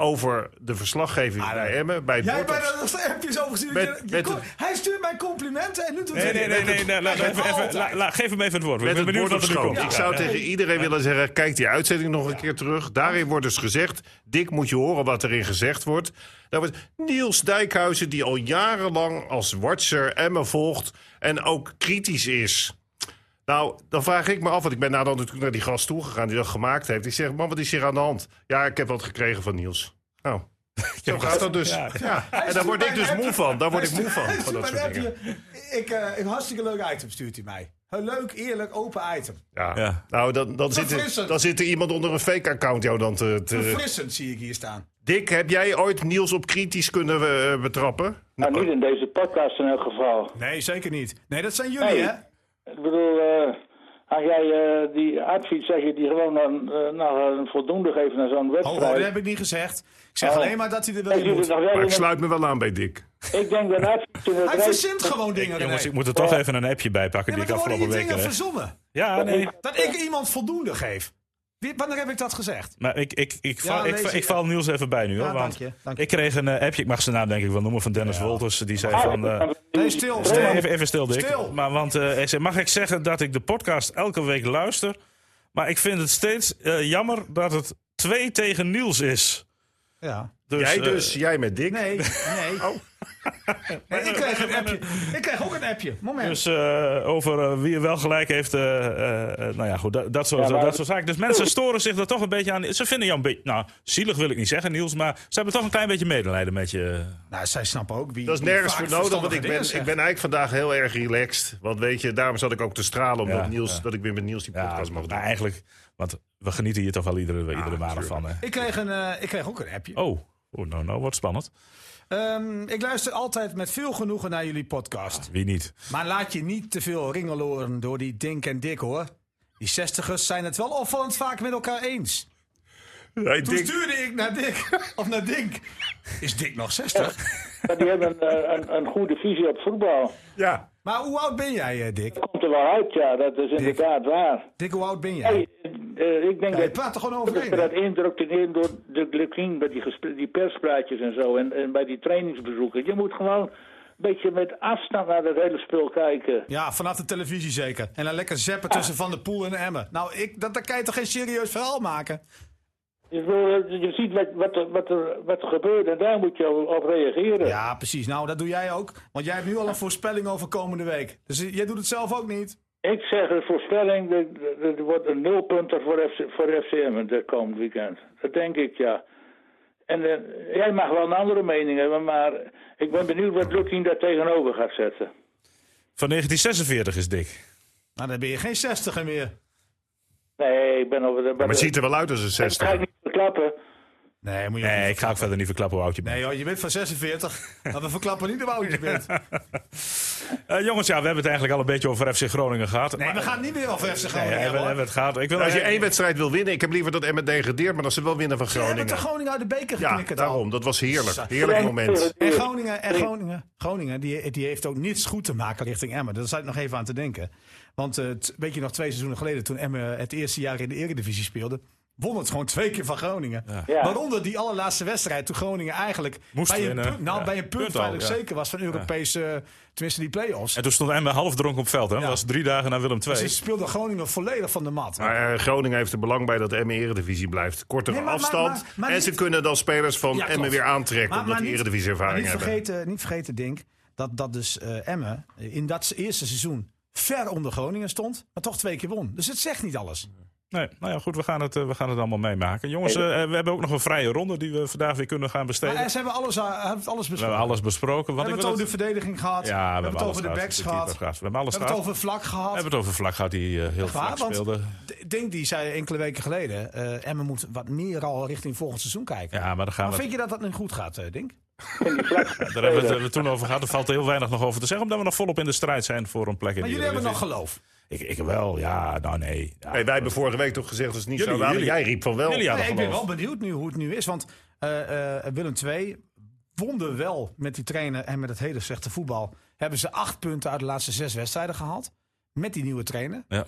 [SPEAKER 5] over de verslaggeving
[SPEAKER 1] Ah,
[SPEAKER 5] bij Emmen. Bij het
[SPEAKER 8] Jij
[SPEAKER 5] bord
[SPEAKER 8] bent
[SPEAKER 5] op-
[SPEAKER 8] er nog appjes over gezien.
[SPEAKER 5] Met-
[SPEAKER 8] Je- je
[SPEAKER 5] met-
[SPEAKER 8] kon- hij stuurt mij complimenten en nu doet
[SPEAKER 3] Nee,
[SPEAKER 8] hij
[SPEAKER 3] nee,
[SPEAKER 8] het
[SPEAKER 3] nee,
[SPEAKER 8] niet.
[SPEAKER 3] nee, nee, laat-
[SPEAKER 8] Hij
[SPEAKER 3] even,
[SPEAKER 8] doet
[SPEAKER 3] even,
[SPEAKER 8] altijd.
[SPEAKER 3] laat- laat- geef hem even het woord. Ik
[SPEAKER 5] Met
[SPEAKER 3] ben
[SPEAKER 5] het
[SPEAKER 3] benieuwd
[SPEAKER 5] bord op
[SPEAKER 3] wat er nu
[SPEAKER 5] schoot.
[SPEAKER 3] komt.
[SPEAKER 5] Ik zou tegen iedereen willen zeggen, kijk die uitzending nog een keer terug. Daarin wordt dus gezegd, Dick moet je horen wat erin gezegd wordt. Daar wordt Niels Dijkhuizen, die al jarenlang als watcher Emmen volgt... en ook kritisch is. Nou, dan vraag ik me af, want ik ben nadat natuurlijk naar die gast toegegaan... die dat gemaakt heeft. Ik zeg, man, wat is hier aan de hand? Ja, ik heb wat gekregen van Niels. Nou, zo gaat dat dus. Ja. En daar word ik dus moe van. Daar word ik moe van,
[SPEAKER 8] Hij
[SPEAKER 5] van
[SPEAKER 8] stuurt
[SPEAKER 5] dat
[SPEAKER 8] mij
[SPEAKER 5] soort
[SPEAKER 8] een
[SPEAKER 5] dingen.
[SPEAKER 8] appje. Ik, eh, een hartstikke leuk item stuurt hij mij. Een leuk, eerlijk, open item.
[SPEAKER 5] Ja.
[SPEAKER 3] Ja.
[SPEAKER 5] Nou, dan, dan, zit er,
[SPEAKER 8] Verfrissend.
[SPEAKER 5] dan zit er iemand onder een fake-account jou dan te... te
[SPEAKER 8] Verfrissend zie ik hier staan.
[SPEAKER 5] Dick, heb jij ooit Niels op kritisch kunnen eh, betrappen?
[SPEAKER 4] Maar Nou, niet in deze podcast in elk geval.
[SPEAKER 1] Nee, zeker niet. Nee, dat zijn jullie,
[SPEAKER 4] Nee,
[SPEAKER 1] hè?
[SPEAKER 4] ik bedoel, eh als jij eh, die advies zeg je die gewoon dan, eh, nou, een voldoende geeft naar zo'n
[SPEAKER 1] Oh,
[SPEAKER 4] wedstrijd.
[SPEAKER 1] oh, dat heb ik niet gezegd. Ik zeg
[SPEAKER 4] Oh.
[SPEAKER 1] alleen maar dat hij er wel
[SPEAKER 4] Ik
[SPEAKER 1] in
[SPEAKER 4] zie het
[SPEAKER 1] moet.
[SPEAKER 4] nog wel
[SPEAKER 5] Maar
[SPEAKER 4] in
[SPEAKER 5] ik sluit me wel aan bij Dick.
[SPEAKER 4] een- ik denk dat advies in
[SPEAKER 8] Hij
[SPEAKER 4] het race-
[SPEAKER 8] verzint gewoon dingen, René.
[SPEAKER 3] Jongens, ik moet er toch even een appje bij pakken
[SPEAKER 8] Ja,
[SPEAKER 3] die
[SPEAKER 8] maar
[SPEAKER 3] ik
[SPEAKER 8] er worden hier
[SPEAKER 3] afgelopen week
[SPEAKER 8] dingen
[SPEAKER 3] kreeg.
[SPEAKER 8] verzonnen.
[SPEAKER 3] Ja, nee.
[SPEAKER 1] Dat ik iemand voldoende geef. Wie- Wanneer heb ik dat gezegd?
[SPEAKER 3] Maar ik, ik, ik, val,
[SPEAKER 1] nee,
[SPEAKER 3] ik, ik,
[SPEAKER 1] zeker.
[SPEAKER 3] val Niels even bij nu hoor.
[SPEAKER 1] Ja,
[SPEAKER 3] want
[SPEAKER 1] dank je, dank je.
[SPEAKER 3] Ik kreeg een eh, appje, ik mag zijn naam denk ik wel noemen, van Dennis Wolters. Die zei van. eh,
[SPEAKER 1] Nee, stil.
[SPEAKER 3] Nee,
[SPEAKER 1] stil.
[SPEAKER 3] even, even stil, Dick.
[SPEAKER 1] Stil.
[SPEAKER 3] Maar, want eh, hij zei, mag ik zeggen dat ik de podcast elke week luister? Maar ik vind het steeds eh, jammer dat het 2 tegen Niels is.
[SPEAKER 1] Ja.
[SPEAKER 3] Dus,
[SPEAKER 5] jij
[SPEAKER 3] eh,
[SPEAKER 5] dus, jij met Dick.
[SPEAKER 1] Nee, nee.
[SPEAKER 5] Oh.
[SPEAKER 1] Nee, ik kreeg een appje. Ik kreeg ook een appje. Moment.
[SPEAKER 3] Dus eh, over eh, wie er wel gelijk heeft. eh, eh, eh, nou ja, goed, dat, dat, soort,
[SPEAKER 4] Ja, maar-
[SPEAKER 3] dat soort zaken. Dus mensen storen zich er toch een beetje aan. Ze vinden jou een beetje. Nou, zielig wil ik niet zeggen, Niels. Maar ze hebben toch een klein beetje medelijden met je.
[SPEAKER 1] nou, zij snappen ook wie.
[SPEAKER 5] Dat is
[SPEAKER 1] wie
[SPEAKER 5] nergens
[SPEAKER 1] vaak
[SPEAKER 5] voor nodig, want
[SPEAKER 1] verstandige
[SPEAKER 5] ik ben,
[SPEAKER 1] dingen
[SPEAKER 5] ik
[SPEAKER 1] zegt.
[SPEAKER 5] ben eigenlijk vandaag heel erg relaxed. Want weet je, daarom zat ik ook te stralen omdat
[SPEAKER 3] Ja,
[SPEAKER 5] Niels, dat ik weer met Niels die podcast mag doen.
[SPEAKER 3] maar eigenlijk. Want we genieten hier toch wel iedere, iedere maandag van. Hè?
[SPEAKER 1] Ik kreeg, een, eh, ik kreeg ook een appje.
[SPEAKER 3] Oh, oh, nou, nou, wordt spannend.
[SPEAKER 1] Ehm, ik luister altijd met veel genoegen naar jullie podcast.
[SPEAKER 3] Wie niet?
[SPEAKER 1] Maar laat je niet te veel ringeloren door die Dink en Dik hoor. Die zestigers zijn het wel opvallend vaak met elkaar eens.
[SPEAKER 5] Hey,
[SPEAKER 1] Toen
[SPEAKER 5] Dick,
[SPEAKER 1] stuurde ik naar Dick. Of naar Dink. Is Dick nog 60?
[SPEAKER 4] Maar die hebben een, eh, een, een goede visie op voetbal.
[SPEAKER 5] ja.
[SPEAKER 1] Maar hoe oud ben jij, eh, Dick?
[SPEAKER 4] Komt er wel uit, ja, dat is inderdaad waar.
[SPEAKER 1] Dick, hoe oud ben
[SPEAKER 4] Hey,
[SPEAKER 1] jij?
[SPEAKER 4] eh, ik denk
[SPEAKER 1] Ja, je
[SPEAKER 4] dat
[SPEAKER 1] praat er gewoon
[SPEAKER 4] dat
[SPEAKER 1] overheen.
[SPEAKER 4] ze dat
[SPEAKER 1] hè?
[SPEAKER 4] indrukt in door de glucine, bij die, gespre- die perspraatjes en zo. En, en bij die trainingsbezoeken. Je moet gewoon een beetje met afstand naar dat hele spul kijken.
[SPEAKER 1] Ja, vanaf de televisie zeker. En dan lekker zeppen tussen Van der Poel en Emmen. Nou, ik, dat, dat kan je toch geen serieus verhaal maken?
[SPEAKER 4] Je, wil- je ziet wat, wat, er- wat, er, wat er gebeurt en daar moet je op reageren.
[SPEAKER 1] Ja, precies. Nou, dat doe jij ook. Want jij hebt nu al een voorspelling over komende week. Dus eh, jij doet het zelf ook niet.
[SPEAKER 4] Ik zeg een voorspelling, dat- dat- dat wordt een nulpunter voor, FC, voor FCM dat eh, komend weekend. Dat denk ik, ja. En eh, jij mag wel een andere mening hebben, maar ik ben benieuwd wat Lukien daar tegenover gaat zetten.
[SPEAKER 3] Van 1946 is Dick.
[SPEAKER 1] Nou, dan ben je geen zestiger meer.
[SPEAKER 4] Nee, ik ben over de...
[SPEAKER 5] Maar het ziet er wel uit als een
[SPEAKER 4] dat ga ik
[SPEAKER 5] 60.
[SPEAKER 4] niet verklappen.
[SPEAKER 1] Nee, moet je
[SPEAKER 3] Nee, ik ga ook verder niet verklappen hoe oud je bent.
[SPEAKER 1] Nee, joh, je bent van 46. maar we verklappen niet hoe oud je bent.
[SPEAKER 3] Eh, jongens, ja, we hebben het eigenlijk al een beetje over FC Groningen gehad.
[SPEAKER 1] Nee,
[SPEAKER 3] Maar-
[SPEAKER 1] we gaan het niet meer over FC Groningen
[SPEAKER 3] Nee, we
[SPEAKER 1] hebben,
[SPEAKER 3] hebben,
[SPEAKER 1] hoor.
[SPEAKER 3] hebben het gehad. Ik wil
[SPEAKER 5] Als je
[SPEAKER 3] eh,
[SPEAKER 5] één wedstrijd wil winnen, ik heb liever dat Emmen degradeert, maar dat ze wel winnen van
[SPEAKER 1] Ze hebben de
[SPEAKER 5] Groningen.
[SPEAKER 1] Groningen uit de beker
[SPEAKER 5] Ja,
[SPEAKER 1] geknikkerd al.
[SPEAKER 5] daarom. Dat was heerlijk. Heerlijk moment.
[SPEAKER 1] En Groningen, en Groningen, Groningen die, die heeft ook niets goed te maken richting Emmen. Daar zat ik nog even aan te denken. Want eh, t- weet je nog, twee seizoenen geleden, toen Emmen eh, het eerste jaar in de Eredivisie speelde, won het gewoon twee keer van Groningen.
[SPEAKER 4] Ja.
[SPEAKER 1] Waaronder die allerlaatste wedstrijd, toen Groningen eigenlijk
[SPEAKER 3] Moest
[SPEAKER 1] bij, een
[SPEAKER 3] winnen.
[SPEAKER 1] punt, nou,
[SPEAKER 3] Ja.
[SPEAKER 1] bij een punt
[SPEAKER 3] Punt al,
[SPEAKER 1] veilig
[SPEAKER 3] ja.
[SPEAKER 1] zeker was van Europese, eh, tenminste die play-offs.
[SPEAKER 3] En toen stond Emmen half dronken op het veld. Hè? Dat was drie dagen na Willem
[SPEAKER 1] Ze
[SPEAKER 3] II.
[SPEAKER 1] speelde Groningen volledig van de mat.
[SPEAKER 5] Maar eh, Groningen heeft er belang bij dat Emmen Eredivisie blijft. Kortere
[SPEAKER 1] Nee, maar- maar-
[SPEAKER 5] afstand.
[SPEAKER 1] maar- maar
[SPEAKER 5] en ze
[SPEAKER 1] niet-
[SPEAKER 5] kunnen dan spelers van
[SPEAKER 1] Ja,
[SPEAKER 5] Emmen
[SPEAKER 1] klopt.
[SPEAKER 5] weer aantrekken. omdat die
[SPEAKER 1] niet-
[SPEAKER 5] Eredivisie ervaring
[SPEAKER 1] maar niet
[SPEAKER 5] hebben.
[SPEAKER 1] vergeten, Niet vergeten, Dink, dat, dat dus eh Emmen in dat eerste seizoen ver onder Groningen stond, maar toch twee keer won. Dus het zegt niet alles.
[SPEAKER 3] Nee, nou ja, goed, we gaan het, eh, we gaan het allemaal meemaken. Jongens, eh, eh, we hebben ook nog een vrije ronde die we vandaag weer kunnen gaan besteden.
[SPEAKER 1] Maar ze hebben alles, eh, hebben alles
[SPEAKER 3] we
[SPEAKER 1] besproken.
[SPEAKER 3] hebben alles besproken.
[SPEAKER 1] we
[SPEAKER 3] Want
[SPEAKER 1] hebben
[SPEAKER 3] ik
[SPEAKER 1] het over
[SPEAKER 3] wil
[SPEAKER 1] de
[SPEAKER 3] het-
[SPEAKER 1] verdediging gehad.
[SPEAKER 3] Ja,
[SPEAKER 1] we hebben het
[SPEAKER 3] alles
[SPEAKER 1] over de
[SPEAKER 3] gehad,
[SPEAKER 1] backs
[SPEAKER 3] de
[SPEAKER 1] gehad.
[SPEAKER 3] keeper
[SPEAKER 1] We
[SPEAKER 3] gehad. We hebben alles
[SPEAKER 1] hebben
[SPEAKER 3] gehad.
[SPEAKER 1] het over vlak
[SPEAKER 3] We
[SPEAKER 1] gehad.
[SPEAKER 3] hebben het over Vlak gehad, die eh, heel
[SPEAKER 1] Waar,
[SPEAKER 3] vaak
[SPEAKER 1] want-
[SPEAKER 3] speelde.
[SPEAKER 1] D- Dink die zei enkele weken geleden, eh Emmen moet wat meer al richting volgend seizoen kijken.
[SPEAKER 3] Ja, maar daar, gaan
[SPEAKER 1] Maar
[SPEAKER 3] we,
[SPEAKER 1] vind je dat dat nu goed gaat, eh, Dink?
[SPEAKER 3] daar hebben we het eh, toen over gehad. Er valt heel weinig nog over te zeggen, omdat we nog volop in de strijd zijn voor een plek in
[SPEAKER 1] Maar
[SPEAKER 3] de
[SPEAKER 1] jullie hebben nog
[SPEAKER 3] Eredivisie.
[SPEAKER 1] geloof.
[SPEAKER 3] Ik, ik wel, ja, nou nee. Ja.
[SPEAKER 5] Hey, wij hebben vorige week toch gezegd dat het niet
[SPEAKER 3] Jullie-
[SPEAKER 5] zo waren.
[SPEAKER 3] jullie-
[SPEAKER 5] Jij riep van wel. Nou,
[SPEAKER 3] jullie hadden
[SPEAKER 1] Nee, ik ben
[SPEAKER 3] geloof.
[SPEAKER 1] wel benieuwd nu hoe het nu is. Want eh, eh, Willem II wonde wel met die trainer en met het hele slechte voetbal. Hebben ze acht punten uit de laatste zes wedstrijden gehaald. Met die nieuwe trainer.
[SPEAKER 3] Ja.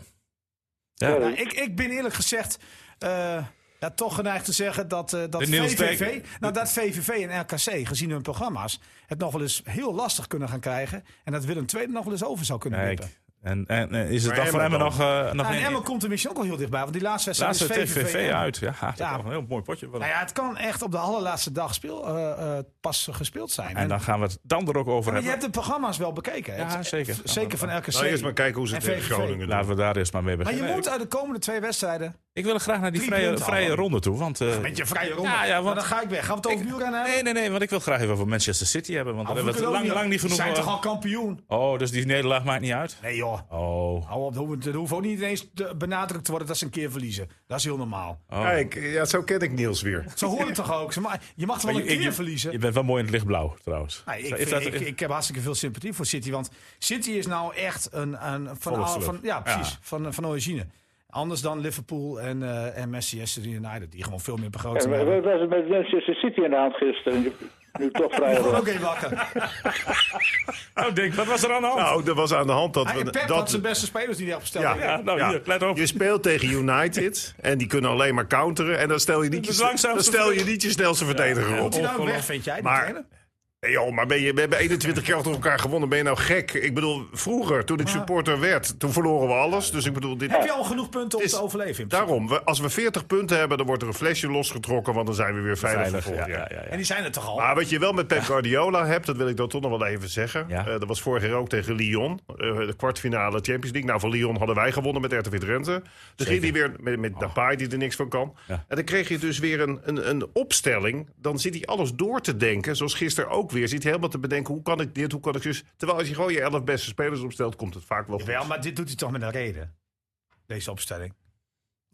[SPEAKER 3] Ja.
[SPEAKER 1] Nou, ik, ik ben eerlijk gezegd. eh, ja, toch geneigd te zeggen dat, eh, dat,
[SPEAKER 3] De Niels
[SPEAKER 1] VVV,
[SPEAKER 3] Dijk.
[SPEAKER 1] nou, dat VVV en RKC, gezien hun programma's, het nog wel eens heel lastig kunnen gaan krijgen. En dat Willem II er nog wel eens over zou kunnen
[SPEAKER 3] Kijk.
[SPEAKER 1] wippen.
[SPEAKER 3] En, en, en is het
[SPEAKER 5] Maar
[SPEAKER 3] dan voor
[SPEAKER 5] Emmen
[SPEAKER 3] Emmen
[SPEAKER 5] dan?
[SPEAKER 3] nog, eh nog
[SPEAKER 1] Nou, en
[SPEAKER 3] een
[SPEAKER 1] Emmen komt er misschien ook wel heel dichtbij, want die laatste wedstrijd
[SPEAKER 3] laatste
[SPEAKER 1] is VVV.
[SPEAKER 3] TVV uit? Ja, dat
[SPEAKER 1] Ja.
[SPEAKER 3] is nog een heel mooi potje. worden.
[SPEAKER 1] Nou ja, het kan echt op de allerlaatste dag speel, eh, eh, pas gespeeld zijn.
[SPEAKER 3] en dan gaan we het dan er ook over
[SPEAKER 1] maar je
[SPEAKER 3] hebben.
[SPEAKER 1] hebt de programma's wel bekeken. hè?
[SPEAKER 3] Ja,
[SPEAKER 1] Het-
[SPEAKER 3] zeker.
[SPEAKER 1] v- Zeker van RKC.
[SPEAKER 5] Nou, eerst maar kijken hoe ze
[SPEAKER 1] En
[SPEAKER 5] het tegen
[SPEAKER 1] VVV.
[SPEAKER 5] Groningen doen.
[SPEAKER 3] Laten we daar eerst maar mee
[SPEAKER 1] maar
[SPEAKER 3] beginnen.
[SPEAKER 1] je moet uit de komende twee wedstrijden
[SPEAKER 3] Ik wil graag naar die
[SPEAKER 1] Drie
[SPEAKER 3] vrije,
[SPEAKER 1] punten
[SPEAKER 3] vrije
[SPEAKER 1] halen.
[SPEAKER 3] ronde toe. Want, eh,
[SPEAKER 1] Met je vrije ronde.
[SPEAKER 3] Ja, ja, want-
[SPEAKER 1] want dan ga ik weg. Gaan we het over
[SPEAKER 3] Ik-
[SPEAKER 1] wielrennen hebben?
[SPEAKER 3] nee, nee, nee, want ik wil graag even over Manchester City hebben. Want daar
[SPEAKER 1] Of
[SPEAKER 3] hebben we
[SPEAKER 1] kunnen
[SPEAKER 3] het lang,
[SPEAKER 1] ook
[SPEAKER 3] lang niet genoeg
[SPEAKER 1] Zijn
[SPEAKER 3] over-
[SPEAKER 1] toch al kampioen?
[SPEAKER 3] Oh, dus die nederlaag maakt niet uit?
[SPEAKER 1] Nee joh.
[SPEAKER 3] Oh.
[SPEAKER 1] Hou op, dat hoeft, dat hoeft ook niet ineens te- benadrukt te worden dat ze een keer verliezen. Dat is heel normaal.
[SPEAKER 3] Oh. Nou,
[SPEAKER 5] Kijk, ja, zo ken ik Niels weer.
[SPEAKER 1] Zo hoort het toch ook? Ze ma- Je mag toch wel een
[SPEAKER 3] Ik- ik-
[SPEAKER 1] keer
[SPEAKER 3] je-
[SPEAKER 1] verliezen?
[SPEAKER 3] Je bent wel mooi in het lichtblauw, trouwens.
[SPEAKER 1] Nee, Nou, ik,
[SPEAKER 3] Is
[SPEAKER 1] vind-
[SPEAKER 3] dat-
[SPEAKER 1] ik, ik heb hartstikke veel sympathie voor City. Want City is nou echt een... een van,
[SPEAKER 3] Volksclub.
[SPEAKER 1] van, ja, precies.
[SPEAKER 3] Ja.
[SPEAKER 1] Van, van origine. Anders dan Liverpool en, eh en Manchester United. Die gewoon veel meer begroting
[SPEAKER 4] En
[SPEAKER 1] hebben.
[SPEAKER 4] Wat was het met Manchester City aan de hand gisteren? Nu- Nu toch vrij
[SPEAKER 1] Ik word
[SPEAKER 4] rond.
[SPEAKER 1] ook even wakker.
[SPEAKER 3] Nou, Dink, wat was er aan de hand?
[SPEAKER 5] Nou, er was aan de hand dat...
[SPEAKER 1] Hij-
[SPEAKER 5] we,
[SPEAKER 1] Oh. Ah, Pep
[SPEAKER 5] dat
[SPEAKER 1] had zijn beste spelers die hij opgesteld
[SPEAKER 5] Ja.
[SPEAKER 1] heeft.
[SPEAKER 3] ja, nou, hier, let op.
[SPEAKER 5] Je speelt tegen United en die kunnen alleen maar counteren. En dan stel je niet,
[SPEAKER 3] is
[SPEAKER 5] je,
[SPEAKER 3] langzaam
[SPEAKER 5] dan
[SPEAKER 3] te
[SPEAKER 5] stel je,
[SPEAKER 3] verdedigen.
[SPEAKER 5] niet je snelste verdediger
[SPEAKER 1] Moet hij
[SPEAKER 5] op.
[SPEAKER 1] nou weg, vind jij? die
[SPEAKER 5] Maar-
[SPEAKER 1] trainer?
[SPEAKER 5] Hey, joh, maar ben je, we hebben 21 keer achter elkaar gewonnen. Ben je nou gek? Ik bedoel, vroeger, toen ik supporter werd, toen verloren we alles. Dus ik bedoel, dit,
[SPEAKER 1] Heb je al genoeg punten om
[SPEAKER 5] Het is-
[SPEAKER 1] te overleven? in principe?
[SPEAKER 5] daarom, we, als we 40 punten hebben, dan wordt er een flesje losgetrokken. Want dan zijn we weer veilig,
[SPEAKER 3] Veilig,
[SPEAKER 5] voor volgend
[SPEAKER 3] ja,
[SPEAKER 5] jaar.
[SPEAKER 3] ja, ja, ja.
[SPEAKER 1] En die zijn er toch al?
[SPEAKER 5] Maar wat je wel met Pep Guardiola hebt, dat wil ik dan toch nog wel even zeggen.
[SPEAKER 3] Ja.
[SPEAKER 5] Eh, dat was vorig jaar ook tegen Lyon. eh, de kwartfinale Champions League. Nou, van Lyon hadden wij gewonnen met RTV Drenthe. Dus ging hij weer met,
[SPEAKER 1] Oh.
[SPEAKER 5] met Depay, die er niks van kan.
[SPEAKER 3] Ja.
[SPEAKER 5] En dan kreeg je dus weer een, een, een opstelling. Dan zit hij alles door te denken, zoals gisteren ook weer. Zit hij helemaal te bedenken, hoe kan ik dit, hoe kan ik dus... Terwijl als je gewoon je elf beste spelers opstelt, komt het vaak wel goed.
[SPEAKER 1] Wel, maar dit doet hij toch met een reden. Deze opstelling.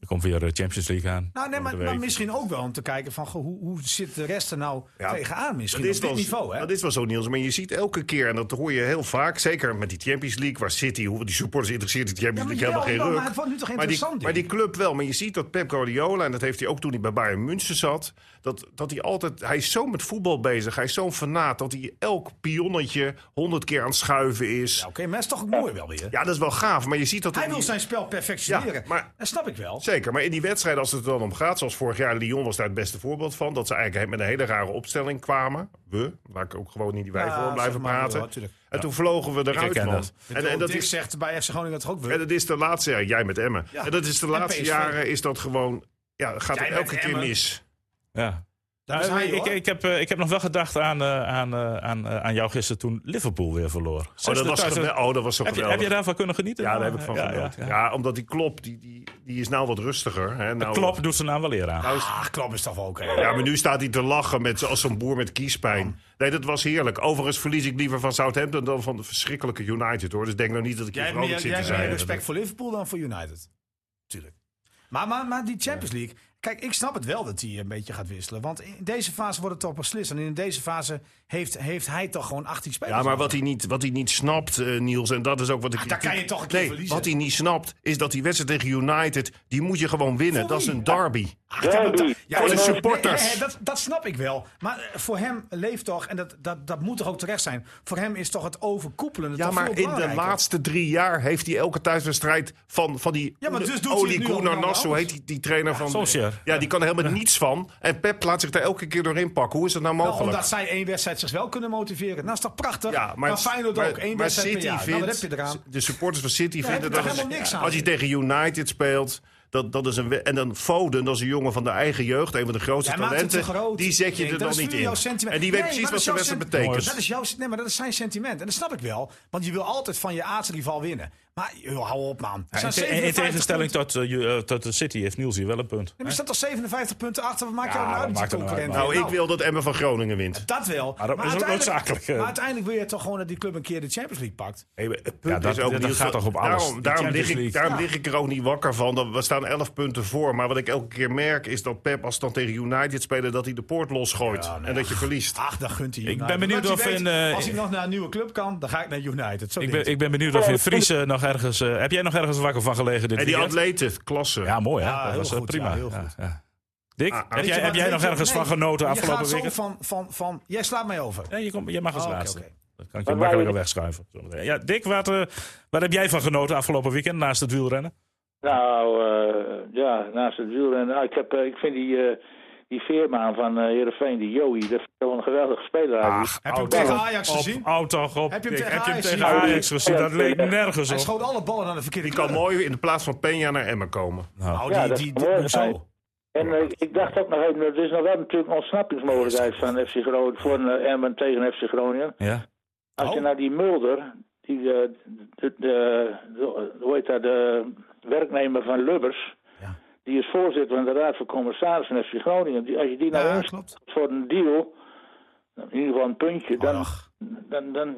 [SPEAKER 3] Er komt weer de Champions League aan.
[SPEAKER 1] Nou, nee, maar,
[SPEAKER 3] Volgende
[SPEAKER 1] maar
[SPEAKER 3] week.
[SPEAKER 1] misschien ook wel om te kijken van goh, hoe, hoe zit de rest er nou
[SPEAKER 5] Ja,
[SPEAKER 1] tegenaan misschien
[SPEAKER 5] Dat
[SPEAKER 1] op dit
[SPEAKER 5] wel-
[SPEAKER 1] niveau, hè?
[SPEAKER 5] Dat is wel zo, Niels. Maar je ziet elke keer, en dat hoor je heel vaak... zeker met die Champions League, waar City... hoe die supporters interesseert die
[SPEAKER 1] Ja,
[SPEAKER 5] Champions
[SPEAKER 1] maar,
[SPEAKER 5] League
[SPEAKER 1] jawel,
[SPEAKER 5] helemaal
[SPEAKER 1] jawel,
[SPEAKER 5] geen
[SPEAKER 1] maar het wordt
[SPEAKER 5] ruk.
[SPEAKER 1] nu toch
[SPEAKER 5] Maar die,
[SPEAKER 1] interessant,
[SPEAKER 5] maar die
[SPEAKER 1] denk
[SPEAKER 5] club wel. Maar je ziet dat Pep Guardiola, en dat heeft hij ook toen hij bij Bayern München zat... dat, dat hij altijd... Hij is zo met voetbal bezig. Hij is zo'n fanaat dat hij elk pionnetje honderd keer aan het schuiven
[SPEAKER 1] ik.
[SPEAKER 5] is.
[SPEAKER 1] Ja, Oké, maar dat is toch ook mooi wel weer.
[SPEAKER 5] Ja, dat is wel gaaf. Maar je ziet dat...
[SPEAKER 1] Hij
[SPEAKER 5] in
[SPEAKER 1] wil
[SPEAKER 5] die-
[SPEAKER 1] zijn spel perfectioneren.
[SPEAKER 5] Ja, maar-
[SPEAKER 1] Dat snap ik wel.
[SPEAKER 5] Zeker, maar in die wedstrijd, als het er dan om gaat, zoals vorig jaar, Lyon was daar het beste voorbeeld van. Dat ze eigenlijk met een hele rare opstelling kwamen. We, waar ik ook gewoon niet die wij
[SPEAKER 1] Ja,
[SPEAKER 5] voor blijven
[SPEAKER 1] zeg maar,
[SPEAKER 5] praten.
[SPEAKER 1] ja, tuurlijk.
[SPEAKER 5] en toen vlogen we eruit,
[SPEAKER 3] herken
[SPEAKER 5] man.
[SPEAKER 3] dat.
[SPEAKER 5] En, en, dat
[SPEAKER 1] Dick
[SPEAKER 5] is,
[SPEAKER 1] zegt bij FC Groningen dat ook wel.
[SPEAKER 5] en dat is de laatste, ja, jij met Emmen.
[SPEAKER 1] Ja.
[SPEAKER 5] En dat is de
[SPEAKER 1] En
[SPEAKER 5] laatste
[SPEAKER 1] PSV.
[SPEAKER 5] jaren, is dat gewoon, ja, gaat
[SPEAKER 1] Jij
[SPEAKER 5] het
[SPEAKER 1] met
[SPEAKER 5] elke keer
[SPEAKER 1] Emmen.
[SPEAKER 5] mis.
[SPEAKER 3] Ja.
[SPEAKER 1] Dat is
[SPEAKER 3] Nou,
[SPEAKER 1] hij,
[SPEAKER 3] ik,
[SPEAKER 1] hoor.
[SPEAKER 3] ik, heb, eh, ik heb nog wel gedacht aan, eh, aan, eh, aan, eh, aan jou gisteren toen Liverpool weer verloor.
[SPEAKER 5] Oh,
[SPEAKER 3] Zesde
[SPEAKER 5] dat was,
[SPEAKER 3] thuis-
[SPEAKER 5] gewel- oh, dat was zo
[SPEAKER 3] heb, je,
[SPEAKER 5] geweldig.
[SPEAKER 3] heb je daarvan kunnen genieten?
[SPEAKER 5] Ja, daar heb ik van genoten. Ja,
[SPEAKER 3] ja.
[SPEAKER 5] omdat die klop, die, die, die is nou wat rustiger. Hè? Nou,
[SPEAKER 3] Klopt, doet zijn naam wel eer aan.
[SPEAKER 5] nou is-
[SPEAKER 1] Ah, Klop is toch wel oké.
[SPEAKER 5] Ja, maar nu staat hij te lachen met, als zo'n boer met kiespijn. Nee, dat was heerlijk. Overigens verlies ik liever van Southampton dan van de verschrikkelijke United, hoor. Dus denk nou niet dat ik
[SPEAKER 1] Jij
[SPEAKER 5] hier
[SPEAKER 1] hebt meer,
[SPEAKER 5] vrolijk zit
[SPEAKER 1] jij
[SPEAKER 5] te
[SPEAKER 1] hebt meer
[SPEAKER 5] zijn.
[SPEAKER 1] respect voor Liverpool dan voor United. Tuurlijk. Maar, maar, maar die Champions League. Kijk, ik snap het wel dat hij een beetje gaat wisselen. Want in deze fase wordt het toch beslist. En in deze fase heeft, heeft hij toch gewoon 18 spelers.
[SPEAKER 5] Ja, maar
[SPEAKER 1] nodig.
[SPEAKER 5] wat hij niet, wat hij niet snapt, eh, Niels, en dat is ook wat ik...
[SPEAKER 1] Ah, daar kan je toch een keer
[SPEAKER 5] Nee,
[SPEAKER 1] verliezen.
[SPEAKER 5] wat hij niet snapt, is dat die wedstrijd tegen United, die moet je gewoon winnen.
[SPEAKER 1] Voor
[SPEAKER 5] dat is
[SPEAKER 1] wie? Ah,
[SPEAKER 5] een derby.
[SPEAKER 1] Ja, maar dat-
[SPEAKER 4] Derby.
[SPEAKER 1] ja,
[SPEAKER 5] Voor de
[SPEAKER 1] maar-
[SPEAKER 5] supporters.
[SPEAKER 1] nee, hè, dat, dat snap ik wel. Maar eh, voor hem leeft toch, en dat, dat, dat moet toch ook terecht zijn. Voor hem is toch het overkoepelende.
[SPEAKER 5] Ja,
[SPEAKER 1] toch
[SPEAKER 5] maar
[SPEAKER 1] veel
[SPEAKER 5] in de
[SPEAKER 1] belangrijker?
[SPEAKER 5] laatste drie jaar heeft hij elke thuiswedstrijd van, van die
[SPEAKER 1] Ja, maar dus doet hij het
[SPEAKER 5] Oli
[SPEAKER 1] nu
[SPEAKER 5] Gunnar
[SPEAKER 1] allemaal
[SPEAKER 5] Nas, zo heet die, die trainer van...
[SPEAKER 3] Solskjaer.
[SPEAKER 5] Ja, die kan er helemaal niets van. En Pep laat zich daar elke keer doorheen pakken. Hoe is dat nou
[SPEAKER 1] Nou,
[SPEAKER 5] mogelijk?
[SPEAKER 1] omdat zij één wedstrijd zich wel kunnen motiveren. Nou, is toch prachtig?
[SPEAKER 5] Ja, maar,
[SPEAKER 1] maar Feyenoord
[SPEAKER 5] maar-
[SPEAKER 1] ook. één
[SPEAKER 5] maar
[SPEAKER 1] wedstrijd per jaar. Nou, wat heb je eraan?
[SPEAKER 5] De supporters van City
[SPEAKER 1] heb je
[SPEAKER 5] vinden
[SPEAKER 1] toch
[SPEAKER 5] dat het-
[SPEAKER 1] helemaal niks aan?
[SPEAKER 5] als je tegen United speelt. Dat, dat is een, we- en dan Foden, dat is een jongen van de eigen jeugd, een van de grootste
[SPEAKER 1] Hij maakt het te
[SPEAKER 5] talenten.
[SPEAKER 1] groot.
[SPEAKER 5] Die zet je
[SPEAKER 1] Nee,
[SPEAKER 5] er
[SPEAKER 1] dat
[SPEAKER 5] dan
[SPEAKER 1] is
[SPEAKER 5] niet
[SPEAKER 1] puur
[SPEAKER 5] in.
[SPEAKER 1] jouw sentiment.
[SPEAKER 5] En
[SPEAKER 1] Nee,
[SPEAKER 5] die weet precies
[SPEAKER 1] maar
[SPEAKER 5] wat
[SPEAKER 1] dat
[SPEAKER 5] de
[SPEAKER 1] is jouw
[SPEAKER 5] wedstrijd
[SPEAKER 1] sen-
[SPEAKER 5] betekent.
[SPEAKER 1] Dat is jouw, nee, maar dat is zijn sentiment. En dat snap ik wel. Want je wil altijd van je aardsrival winnen. Maar joh, hou op, man. Er
[SPEAKER 3] Ja, in,
[SPEAKER 1] staan
[SPEAKER 3] te- in
[SPEAKER 1] 57
[SPEAKER 3] tegenstelling tot, eh, ju- eh, tot de City heeft Niels hier wel een punt.
[SPEAKER 1] Nee, maar er staat toch 57 punten achter? Wat maakt
[SPEAKER 3] Ja,
[SPEAKER 1] jou nou
[SPEAKER 3] dat
[SPEAKER 1] uit met
[SPEAKER 3] maakt
[SPEAKER 1] je
[SPEAKER 3] er nou uit,
[SPEAKER 1] concurrent?
[SPEAKER 3] man.
[SPEAKER 5] Nou, ik wil dat Emmen van Groningen wint.
[SPEAKER 1] Dat wel.
[SPEAKER 3] Maar dat is ook
[SPEAKER 1] uiteindelijk-
[SPEAKER 3] noodzakelijk, eh.
[SPEAKER 1] Maar uiteindelijk wil je toch gewoon dat die club een keer de Champions League pakt.
[SPEAKER 5] Hey, maar het punt
[SPEAKER 3] Ja, dat-
[SPEAKER 5] is ook,
[SPEAKER 3] dat
[SPEAKER 5] Niels,
[SPEAKER 3] gaat toch op alles.
[SPEAKER 5] Daarom,
[SPEAKER 3] Die
[SPEAKER 5] daarom,
[SPEAKER 3] Champions
[SPEAKER 5] lig, ik,
[SPEAKER 3] League.
[SPEAKER 5] daarom lig ik er ook niet wakker van. Dat we staan 11 punten voor. Maar wat ik elke keer merk is dat Pep, als ze dan tegen United spelen, dat hij de poort losgooit.
[SPEAKER 1] nou
[SPEAKER 5] En dat je verliest.
[SPEAKER 1] Ach, dan gunt hij United.
[SPEAKER 3] ben benieuwd
[SPEAKER 1] Want je
[SPEAKER 3] of
[SPEAKER 1] weet,
[SPEAKER 3] in, eh,
[SPEAKER 1] als hij nog naar een nieuwe club kan, dan ga ik naar United. Zo
[SPEAKER 3] Ik
[SPEAKER 1] denkt
[SPEAKER 3] ben, ik ben benieuwd of je Fries eh, nog ergens... eh, heb jij nog ergens wakker van gelegen dit
[SPEAKER 5] En Oh, die
[SPEAKER 3] weekend?
[SPEAKER 5] atleten, klasse.
[SPEAKER 3] Ja, mooi hè?
[SPEAKER 1] Ja,
[SPEAKER 3] dat
[SPEAKER 1] heel
[SPEAKER 3] was eh,
[SPEAKER 1] goed,
[SPEAKER 3] prima.
[SPEAKER 1] ja, heel goed.
[SPEAKER 3] Ja, ja. Dick,
[SPEAKER 5] Ah,
[SPEAKER 3] heb
[SPEAKER 1] Weet
[SPEAKER 3] jij,
[SPEAKER 1] je
[SPEAKER 3] heb
[SPEAKER 1] wat-
[SPEAKER 3] jij nog
[SPEAKER 1] weet je-
[SPEAKER 3] ergens
[SPEAKER 1] nee,
[SPEAKER 3] van genoten
[SPEAKER 1] je
[SPEAKER 3] afgelopen
[SPEAKER 1] gaat
[SPEAKER 3] weekend?
[SPEAKER 1] Zo van, van, van, jij slaat mij over.
[SPEAKER 3] Nee, je, komt- je mag als
[SPEAKER 1] Oh, oké,
[SPEAKER 3] laatste.
[SPEAKER 1] oké.
[SPEAKER 3] Dan kan ik je
[SPEAKER 4] Maar
[SPEAKER 3] makkelijker
[SPEAKER 4] wij-
[SPEAKER 3] wegschuiven. zometeen. Ja, Dick, wat, eh, wat heb jij van genoten afgelopen weekend naast het wielrennen?
[SPEAKER 4] Nou, eh, ja, naast het wielrennen. Nou, ik, heb, eh, ik vind die, eh die Veermaan van eh Heerenveen, die Joey, dat is wel een geweldige speler. eigenlijk.
[SPEAKER 1] Heb je hem
[SPEAKER 3] Houd
[SPEAKER 1] tegen
[SPEAKER 3] toch
[SPEAKER 1] Ajax
[SPEAKER 3] op,
[SPEAKER 1] gezien?
[SPEAKER 3] Houd toch op.
[SPEAKER 1] Heb je hem
[SPEAKER 3] Ik-
[SPEAKER 1] tegen
[SPEAKER 3] hem
[SPEAKER 1] Ajax
[SPEAKER 3] tegen
[SPEAKER 1] gezien?
[SPEAKER 3] Ajax gezien? Dat leek nergens
[SPEAKER 1] Hij
[SPEAKER 3] op.
[SPEAKER 1] schoot alle ballen naar de verkeerde
[SPEAKER 5] Die kan
[SPEAKER 1] kleur.
[SPEAKER 5] mooi in de plaats van Peña naar Emmen komen.
[SPEAKER 1] Nou,
[SPEAKER 4] Ja,
[SPEAKER 1] die,
[SPEAKER 4] dat
[SPEAKER 1] die,
[SPEAKER 4] kan mooi
[SPEAKER 1] die- zo.
[SPEAKER 4] zijn. En eh, ik, ik dacht ook nog even, er is nog wel natuurlijk een ontsnappingsmogelijkheid van FC Groningen voor eh, Emmen tegen FC Groningen.
[SPEAKER 3] Ja.
[SPEAKER 4] Als je
[SPEAKER 1] Oh.
[SPEAKER 4] naar die Mulder, die, eh, de, de, de- hoe heet dat, de werknemer van Lubbers,
[SPEAKER 1] Ja.
[SPEAKER 4] die is voorzitter van de Raad van Commissarissen FC Groningen. Die, als je die nou
[SPEAKER 1] Ja,
[SPEAKER 4] instelt
[SPEAKER 1] klopt.
[SPEAKER 4] voor een deal, in ieder geval een puntje, dan,
[SPEAKER 1] Ach.
[SPEAKER 4] dan, dan,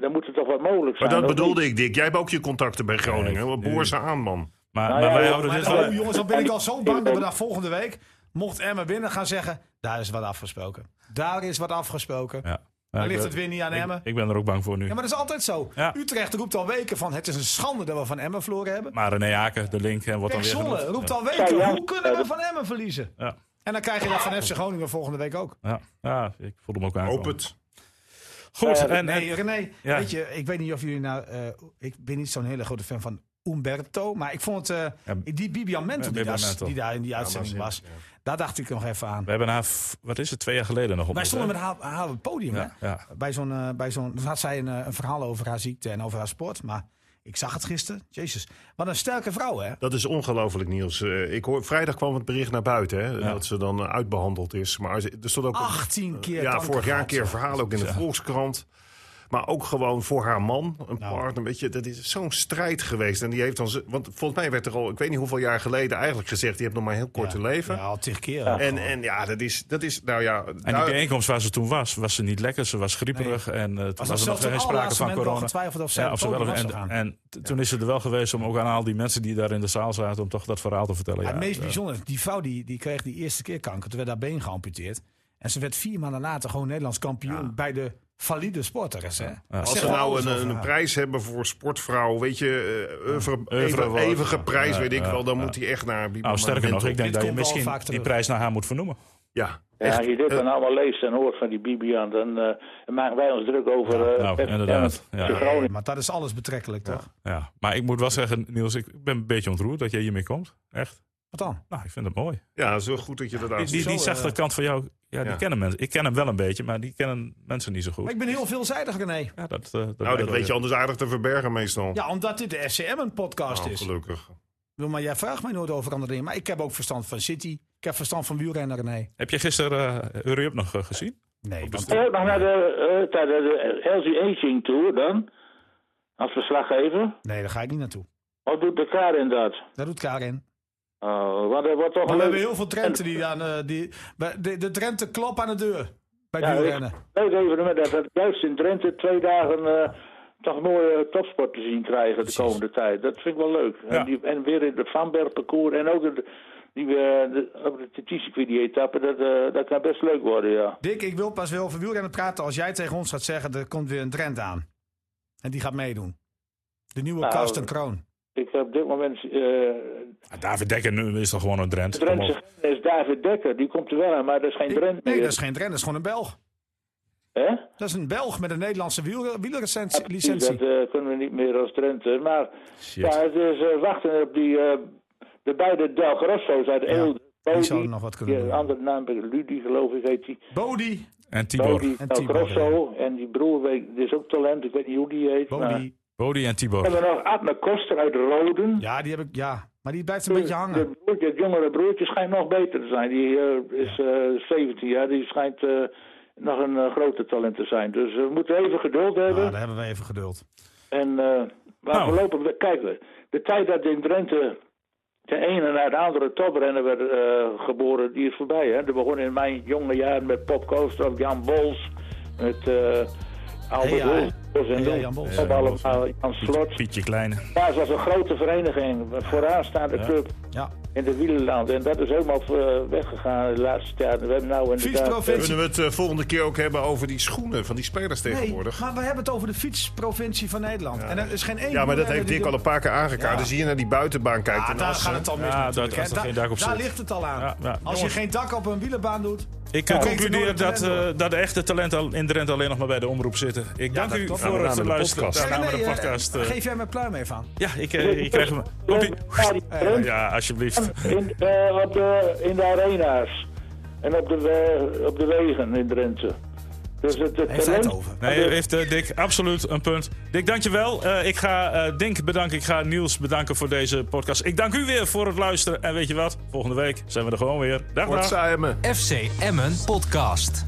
[SPEAKER 4] dan moet het toch wat mogelijk
[SPEAKER 5] Maar
[SPEAKER 4] zijn.
[SPEAKER 5] dat
[SPEAKER 4] of
[SPEAKER 5] bedoelde
[SPEAKER 4] niet?
[SPEAKER 5] ik, Dick. Jij hebt ook je contacten bij Groningen.
[SPEAKER 3] Nee,
[SPEAKER 5] Wat boer ze aan, man.
[SPEAKER 3] Maar,
[SPEAKER 4] Nou
[SPEAKER 3] maar
[SPEAKER 4] ja,
[SPEAKER 3] wij
[SPEAKER 4] ja,
[SPEAKER 3] houden
[SPEAKER 1] Maar
[SPEAKER 3] dit
[SPEAKER 1] oh,
[SPEAKER 3] wel.
[SPEAKER 1] jongens, dan ben ik al zo bang dat we daar volgende week, mocht Emma winnen, gaan zeggen: daar is wat afgesproken. Daar is wat afgesproken.
[SPEAKER 3] Ja.
[SPEAKER 1] Dan
[SPEAKER 3] Ik
[SPEAKER 1] ligt
[SPEAKER 3] ben-
[SPEAKER 1] het weer niet aan Emmen.
[SPEAKER 3] ik, ik ben er ook bang voor nu.
[SPEAKER 1] Ja, maar dat is altijd zo.
[SPEAKER 3] Ja.
[SPEAKER 1] Utrecht roept al weken van: het is een schande dat we van Emmen verloren hebben.
[SPEAKER 3] Maar René Haken, de link, en wordt dan
[SPEAKER 1] Pek
[SPEAKER 3] weer
[SPEAKER 1] Zwolle
[SPEAKER 3] genoemd.
[SPEAKER 1] roept al weken:
[SPEAKER 4] Ja, ja.
[SPEAKER 1] hoe kunnen we van Emmen verliezen?
[SPEAKER 3] Ja.
[SPEAKER 1] En dan krijg je dat van FC Groningen volgende week ook.
[SPEAKER 3] Ja. Ja, ik voel hem ook
[SPEAKER 5] Hoop
[SPEAKER 3] aankomen.
[SPEAKER 5] het.
[SPEAKER 3] Goed, en, en
[SPEAKER 1] Nee, René,
[SPEAKER 3] Ja.
[SPEAKER 1] weet je, ik weet niet of jullie nou... eh, ik ben niet zo'n hele grote fan van Umberto, maar ik vond eh,
[SPEAKER 3] Ja,
[SPEAKER 1] die Bibian Mentel, die, daar,
[SPEAKER 3] Bibiamento.
[SPEAKER 1] die daar in die uitzending
[SPEAKER 5] dat
[SPEAKER 1] was,
[SPEAKER 5] is
[SPEAKER 1] daar dacht ik nog even aan.
[SPEAKER 3] we hebben haar, f- wat is het, twee jaar geleden nog op.
[SPEAKER 1] Wij stonden met haar, haar op het podium,
[SPEAKER 3] Ja,
[SPEAKER 1] hè?
[SPEAKER 3] ja.
[SPEAKER 1] Bij zo'n, eh, bij zo'n, toen had zij een, eh, een verhaal over haar ziekte en over haar sport, maar ik zag het gisteren. Jezus, wat een sterke vrouw, hè?
[SPEAKER 5] Dat is ongelooflijk, Niels. Eh, ik hoor, vrijdag kwam het bericht naar buiten hè, dat ze dan eh, uitbehandeld is. Maar ze- er stond ook
[SPEAKER 1] 18 keer
[SPEAKER 5] Eh, ja,
[SPEAKER 1] kanker
[SPEAKER 5] vorig jaar een
[SPEAKER 1] gehad,
[SPEAKER 5] keer een
[SPEAKER 1] joh.
[SPEAKER 5] verhaal ook in de Volkskrant. Maar ook gewoon voor haar man, een partner. Weet je, dat is zo'n strijd geweest. En die heeft dan, z- want volgens mij werd er al, ik weet niet hoeveel jaar geleden eigenlijk gezegd: je hebt nog maar een heel kort te leven.
[SPEAKER 1] Ja, al tig keer.
[SPEAKER 5] En, en ja, dat is, dat is, nou ja.
[SPEAKER 3] En die bijeenkomst waar ze toen was, was ze niet lekker. Ze was grieperig en eh, toen
[SPEAKER 1] was
[SPEAKER 3] was er nog
[SPEAKER 1] zelfs
[SPEAKER 3] geen
[SPEAKER 1] het
[SPEAKER 3] sprake
[SPEAKER 1] allerlaatste
[SPEAKER 3] van
[SPEAKER 1] moment
[SPEAKER 3] corona.
[SPEAKER 1] al getwijfeld of zij
[SPEAKER 3] Ja,
[SPEAKER 1] op
[SPEAKER 3] of ze wel-
[SPEAKER 1] podium was
[SPEAKER 3] en
[SPEAKER 1] gegaan.
[SPEAKER 3] en t- toen is ze er wel geweest om ook aan al die mensen die daar in de zaal zaten... om toch dat verhaal te vertellen. Ja,
[SPEAKER 1] het meest
[SPEAKER 3] eh,
[SPEAKER 1] bijzondere, die vrouw die, die kreeg die eerste keer kanker. Toen werd haar been geamputeerd. En ze werd vier maanden later gewoon Nederlands kampioen bij de valide sporters. Hè? Dat
[SPEAKER 5] Als
[SPEAKER 1] zegt
[SPEAKER 5] ze
[SPEAKER 1] wel
[SPEAKER 5] nou
[SPEAKER 1] alles
[SPEAKER 5] een,
[SPEAKER 1] over
[SPEAKER 5] een
[SPEAKER 1] haar.
[SPEAKER 5] prijs hebben voor sportvrouw, weet je, eh oeuvre-
[SPEAKER 3] Oeuvre
[SPEAKER 5] even-
[SPEAKER 3] wordt,
[SPEAKER 5] eeuwige
[SPEAKER 3] ja.
[SPEAKER 5] prijs,
[SPEAKER 3] Ja,
[SPEAKER 5] weet ik
[SPEAKER 3] ja,
[SPEAKER 5] wel, dan
[SPEAKER 3] ja.
[SPEAKER 5] moet hij echt naar die
[SPEAKER 3] Nou, sterker nog, ik denk
[SPEAKER 1] Dit
[SPEAKER 3] dat je
[SPEAKER 1] komt wel vaak
[SPEAKER 3] misschien die
[SPEAKER 1] terug.
[SPEAKER 3] prijs naar haar moet vernoemen.
[SPEAKER 5] Ja, eh,
[SPEAKER 4] Ja, als je dit dan allemaal leest en hoort van die Bibian, dan eh, maken wij ons druk over eh
[SPEAKER 3] nou,
[SPEAKER 4] FC
[SPEAKER 3] inderdaad. Ja.
[SPEAKER 4] FC Groningen.
[SPEAKER 1] Maar dat is alles betrekkelijk, toch?
[SPEAKER 3] Ja. Maar ik moet wel zeggen, Niels, ik ben een beetje ontroerd dat jij hiermee komt. Echt.
[SPEAKER 1] Wat dan?
[SPEAKER 3] Nou, ik vind het mooi.
[SPEAKER 5] ja, zo goed dat je dat
[SPEAKER 3] Die, die, die
[SPEAKER 1] zo,
[SPEAKER 3] zachte
[SPEAKER 1] eh,
[SPEAKER 3] kant van jou, ja, die
[SPEAKER 5] ja.
[SPEAKER 3] kennen mensen. Ik ken hem wel een beetje, maar die kennen mensen niet zo goed.
[SPEAKER 1] Maar ik ben heel veelzijdig, René.
[SPEAKER 3] Ja, dat, eh, dat
[SPEAKER 5] Nou, dat
[SPEAKER 3] wel
[SPEAKER 5] weet je
[SPEAKER 3] weer.
[SPEAKER 5] anders aardig te verbergen meestal.
[SPEAKER 1] Ja, omdat dit de FCM een podcast
[SPEAKER 5] Nou,
[SPEAKER 1] is.
[SPEAKER 5] gelukkig.
[SPEAKER 1] Ik bedoel, Maar jij vraagt mij nooit over andere dingen. Maar ik heb ook verstand van City. Ik heb verstand van wielrennen, René.
[SPEAKER 3] Heb je gisteren eh Hurry Up nog eh, gezien?
[SPEAKER 1] Nee, want-
[SPEAKER 4] Ja, nog naar de, eh, naar de, de LG Aging Tour dan, als verslaggever.
[SPEAKER 1] nee, daar ga ik niet naartoe.
[SPEAKER 4] Wat doet de Karin dat?
[SPEAKER 1] Daar doet Karin.
[SPEAKER 4] Oh, want er wordt
[SPEAKER 1] Maar
[SPEAKER 4] toch
[SPEAKER 1] we
[SPEAKER 4] een
[SPEAKER 1] hebben
[SPEAKER 4] leuk...
[SPEAKER 1] heel veel Trenten die aan... eh, die, bij- de, de Trenten klop aan de deur. Bij
[SPEAKER 4] Ja,
[SPEAKER 1] het wielrennen.
[SPEAKER 4] leuk evenement dat we juist in Drenthe twee dagen eh, toch mooie topsport te zien krijgen de komende tijd. Dat vind ik wel leuk.
[SPEAKER 3] Ja.
[SPEAKER 4] En, die, en weer in het Vanberg parcours en ook de, die, eh, de, op de TT-circuit die etappe, dat, eh, dat kan best leuk worden, ja.
[SPEAKER 1] Dick, ik wil pas wel over wielrennen praten als jij tegen ons gaat zeggen... er komt weer een trend aan. En die gaat meedoen. De nieuwe
[SPEAKER 4] Nou,
[SPEAKER 1] Karsten Kroon.
[SPEAKER 4] Ik heb op dit moment... eh
[SPEAKER 3] Ah, David Dekker nu is toch gewoon een Drent.
[SPEAKER 4] de Drentse is David Dekker, die komt er wel aan, maar dat is geen Drent meer.
[SPEAKER 1] Nee, dat is geen Drent, dat is gewoon een Belg.
[SPEAKER 4] Hè?
[SPEAKER 1] Dat is een Belg met een Nederlandse wielre-
[SPEAKER 4] Ja,
[SPEAKER 1] wielerlicentie.
[SPEAKER 4] precies,
[SPEAKER 1] licentie.
[SPEAKER 4] Dat eh, kunnen we niet meer als Drenthe. Maar ja, het is eh, wachten op die eh, de beide Del Grosso's uit Eelde. Bodi,
[SPEAKER 1] zouden nog wat kunnen
[SPEAKER 4] die
[SPEAKER 1] doen.
[SPEAKER 4] andere naam, Ludi geloof ik heet die.
[SPEAKER 1] Bodie,
[SPEAKER 3] En Tibor.
[SPEAKER 4] Bodi,
[SPEAKER 1] En
[SPEAKER 4] Del
[SPEAKER 1] Tibor,
[SPEAKER 4] Grosso en die broer, weet, ik, die is ook talent, ik weet niet hoe die heet. maar-
[SPEAKER 1] Bodie.
[SPEAKER 3] Bodie en
[SPEAKER 4] Dan
[SPEAKER 3] Tibor.
[SPEAKER 4] hebben we nog Adme Koster uit Roden.
[SPEAKER 1] Ja, die heb ik... Ja, maar die blijft een beetje hangen.
[SPEAKER 4] De broertje, het jongere broertje schijnt nog beter te zijn. Die eh, is eh 17 jaar, die schijnt eh, nog een eh, groter talent te zijn. Dus we moeten even geduld hebben.
[SPEAKER 1] Ah, daar hebben we even geduld.
[SPEAKER 4] En eh, maar
[SPEAKER 3] Nou.
[SPEAKER 4] voorlopig, kijk, de tijd dat in Drenthe de ene naar de andere toprenner werd eh, geboren, die is voorbij. Hè? Dat begon in mijn jonge jaren met Pop Koostrof, Jan Bols, met eh Albert
[SPEAKER 1] Hey, ja.
[SPEAKER 4] Hulshoff en
[SPEAKER 1] Hey, ja,
[SPEAKER 4] dan
[SPEAKER 1] Jan Bols.
[SPEAKER 4] op allemaal, Jan Slot.
[SPEAKER 3] Pietje Klein.
[SPEAKER 4] Ja, het was een grote vereniging, vooraan staat de club
[SPEAKER 1] Ja.
[SPEAKER 4] in de wielerland. En dat is helemaal eh, weggegaan de laatste tijd. We hebben nou inderdaad... eh,
[SPEAKER 1] Fietsprovincie.
[SPEAKER 5] Kunnen we het eh, volgende keer ook hebben over die schoenen van die spelers
[SPEAKER 1] Nee,
[SPEAKER 5] tegenwoordig?
[SPEAKER 1] maar we hebben het over de fietsprovincie van Nederland. En er is geen één
[SPEAKER 5] ja, maar dat
[SPEAKER 1] wielrenner
[SPEAKER 5] heeft
[SPEAKER 1] die
[SPEAKER 5] Dick
[SPEAKER 1] er-
[SPEAKER 5] al een paar keer aangekaart.
[SPEAKER 1] Ja.
[SPEAKER 5] Dus hier naar die buitenbaan kijkt.
[SPEAKER 1] Ah,
[SPEAKER 5] en
[SPEAKER 1] daar
[SPEAKER 5] als,
[SPEAKER 1] gaat
[SPEAKER 5] eh,
[SPEAKER 1] het al mis
[SPEAKER 3] Ja,
[SPEAKER 1] natuurlijk,
[SPEAKER 3] daar-
[SPEAKER 1] hè.
[SPEAKER 3] als er geen dak op
[SPEAKER 1] daar
[SPEAKER 3] zit.
[SPEAKER 1] ligt het al aan.
[SPEAKER 3] Ja, ja.
[SPEAKER 1] Als je
[SPEAKER 3] Jongens.
[SPEAKER 1] geen dak op een wielenbaan doet,
[SPEAKER 6] Ik eh,
[SPEAKER 1] Ja,
[SPEAKER 6] concludeer
[SPEAKER 1] kijk, de
[SPEAKER 6] dat,
[SPEAKER 1] talenten.
[SPEAKER 6] eh, dat de echte talenten al- in Drenthe alleen nog maar bij de omroep zitten. Ik dank
[SPEAKER 7] dat
[SPEAKER 6] u
[SPEAKER 7] klopt.
[SPEAKER 6] voor
[SPEAKER 5] Nou,
[SPEAKER 6] het
[SPEAKER 5] we gaan naar de
[SPEAKER 6] luisteren.
[SPEAKER 5] podcast.
[SPEAKER 6] Daar gaan we de
[SPEAKER 7] eh,
[SPEAKER 6] podcast. eh,
[SPEAKER 7] geef jij mijn pluim even aan.
[SPEAKER 6] ja, ik, eh, ik krijg hem. Komt-ie? Ja, alsjeblieft.
[SPEAKER 4] In, eh, op de, in de arena's. En op de, we- op de wegen in Drenthe. Dus het, het
[SPEAKER 7] Heeft hij het over?
[SPEAKER 6] Nee, u heeft eh, Dick absoluut een punt. Dick, dankjewel. Eh ik ga eh, Dink bedanken. Ik ga Niels bedanken voor deze podcast. Ik dank u weer voor het luisteren. En weet je wat? Volgende week zijn we er gewoon weer. Dag,
[SPEAKER 5] Wordt
[SPEAKER 6] dag.
[SPEAKER 5] saai, man.
[SPEAKER 2] FC Emmen Podcast.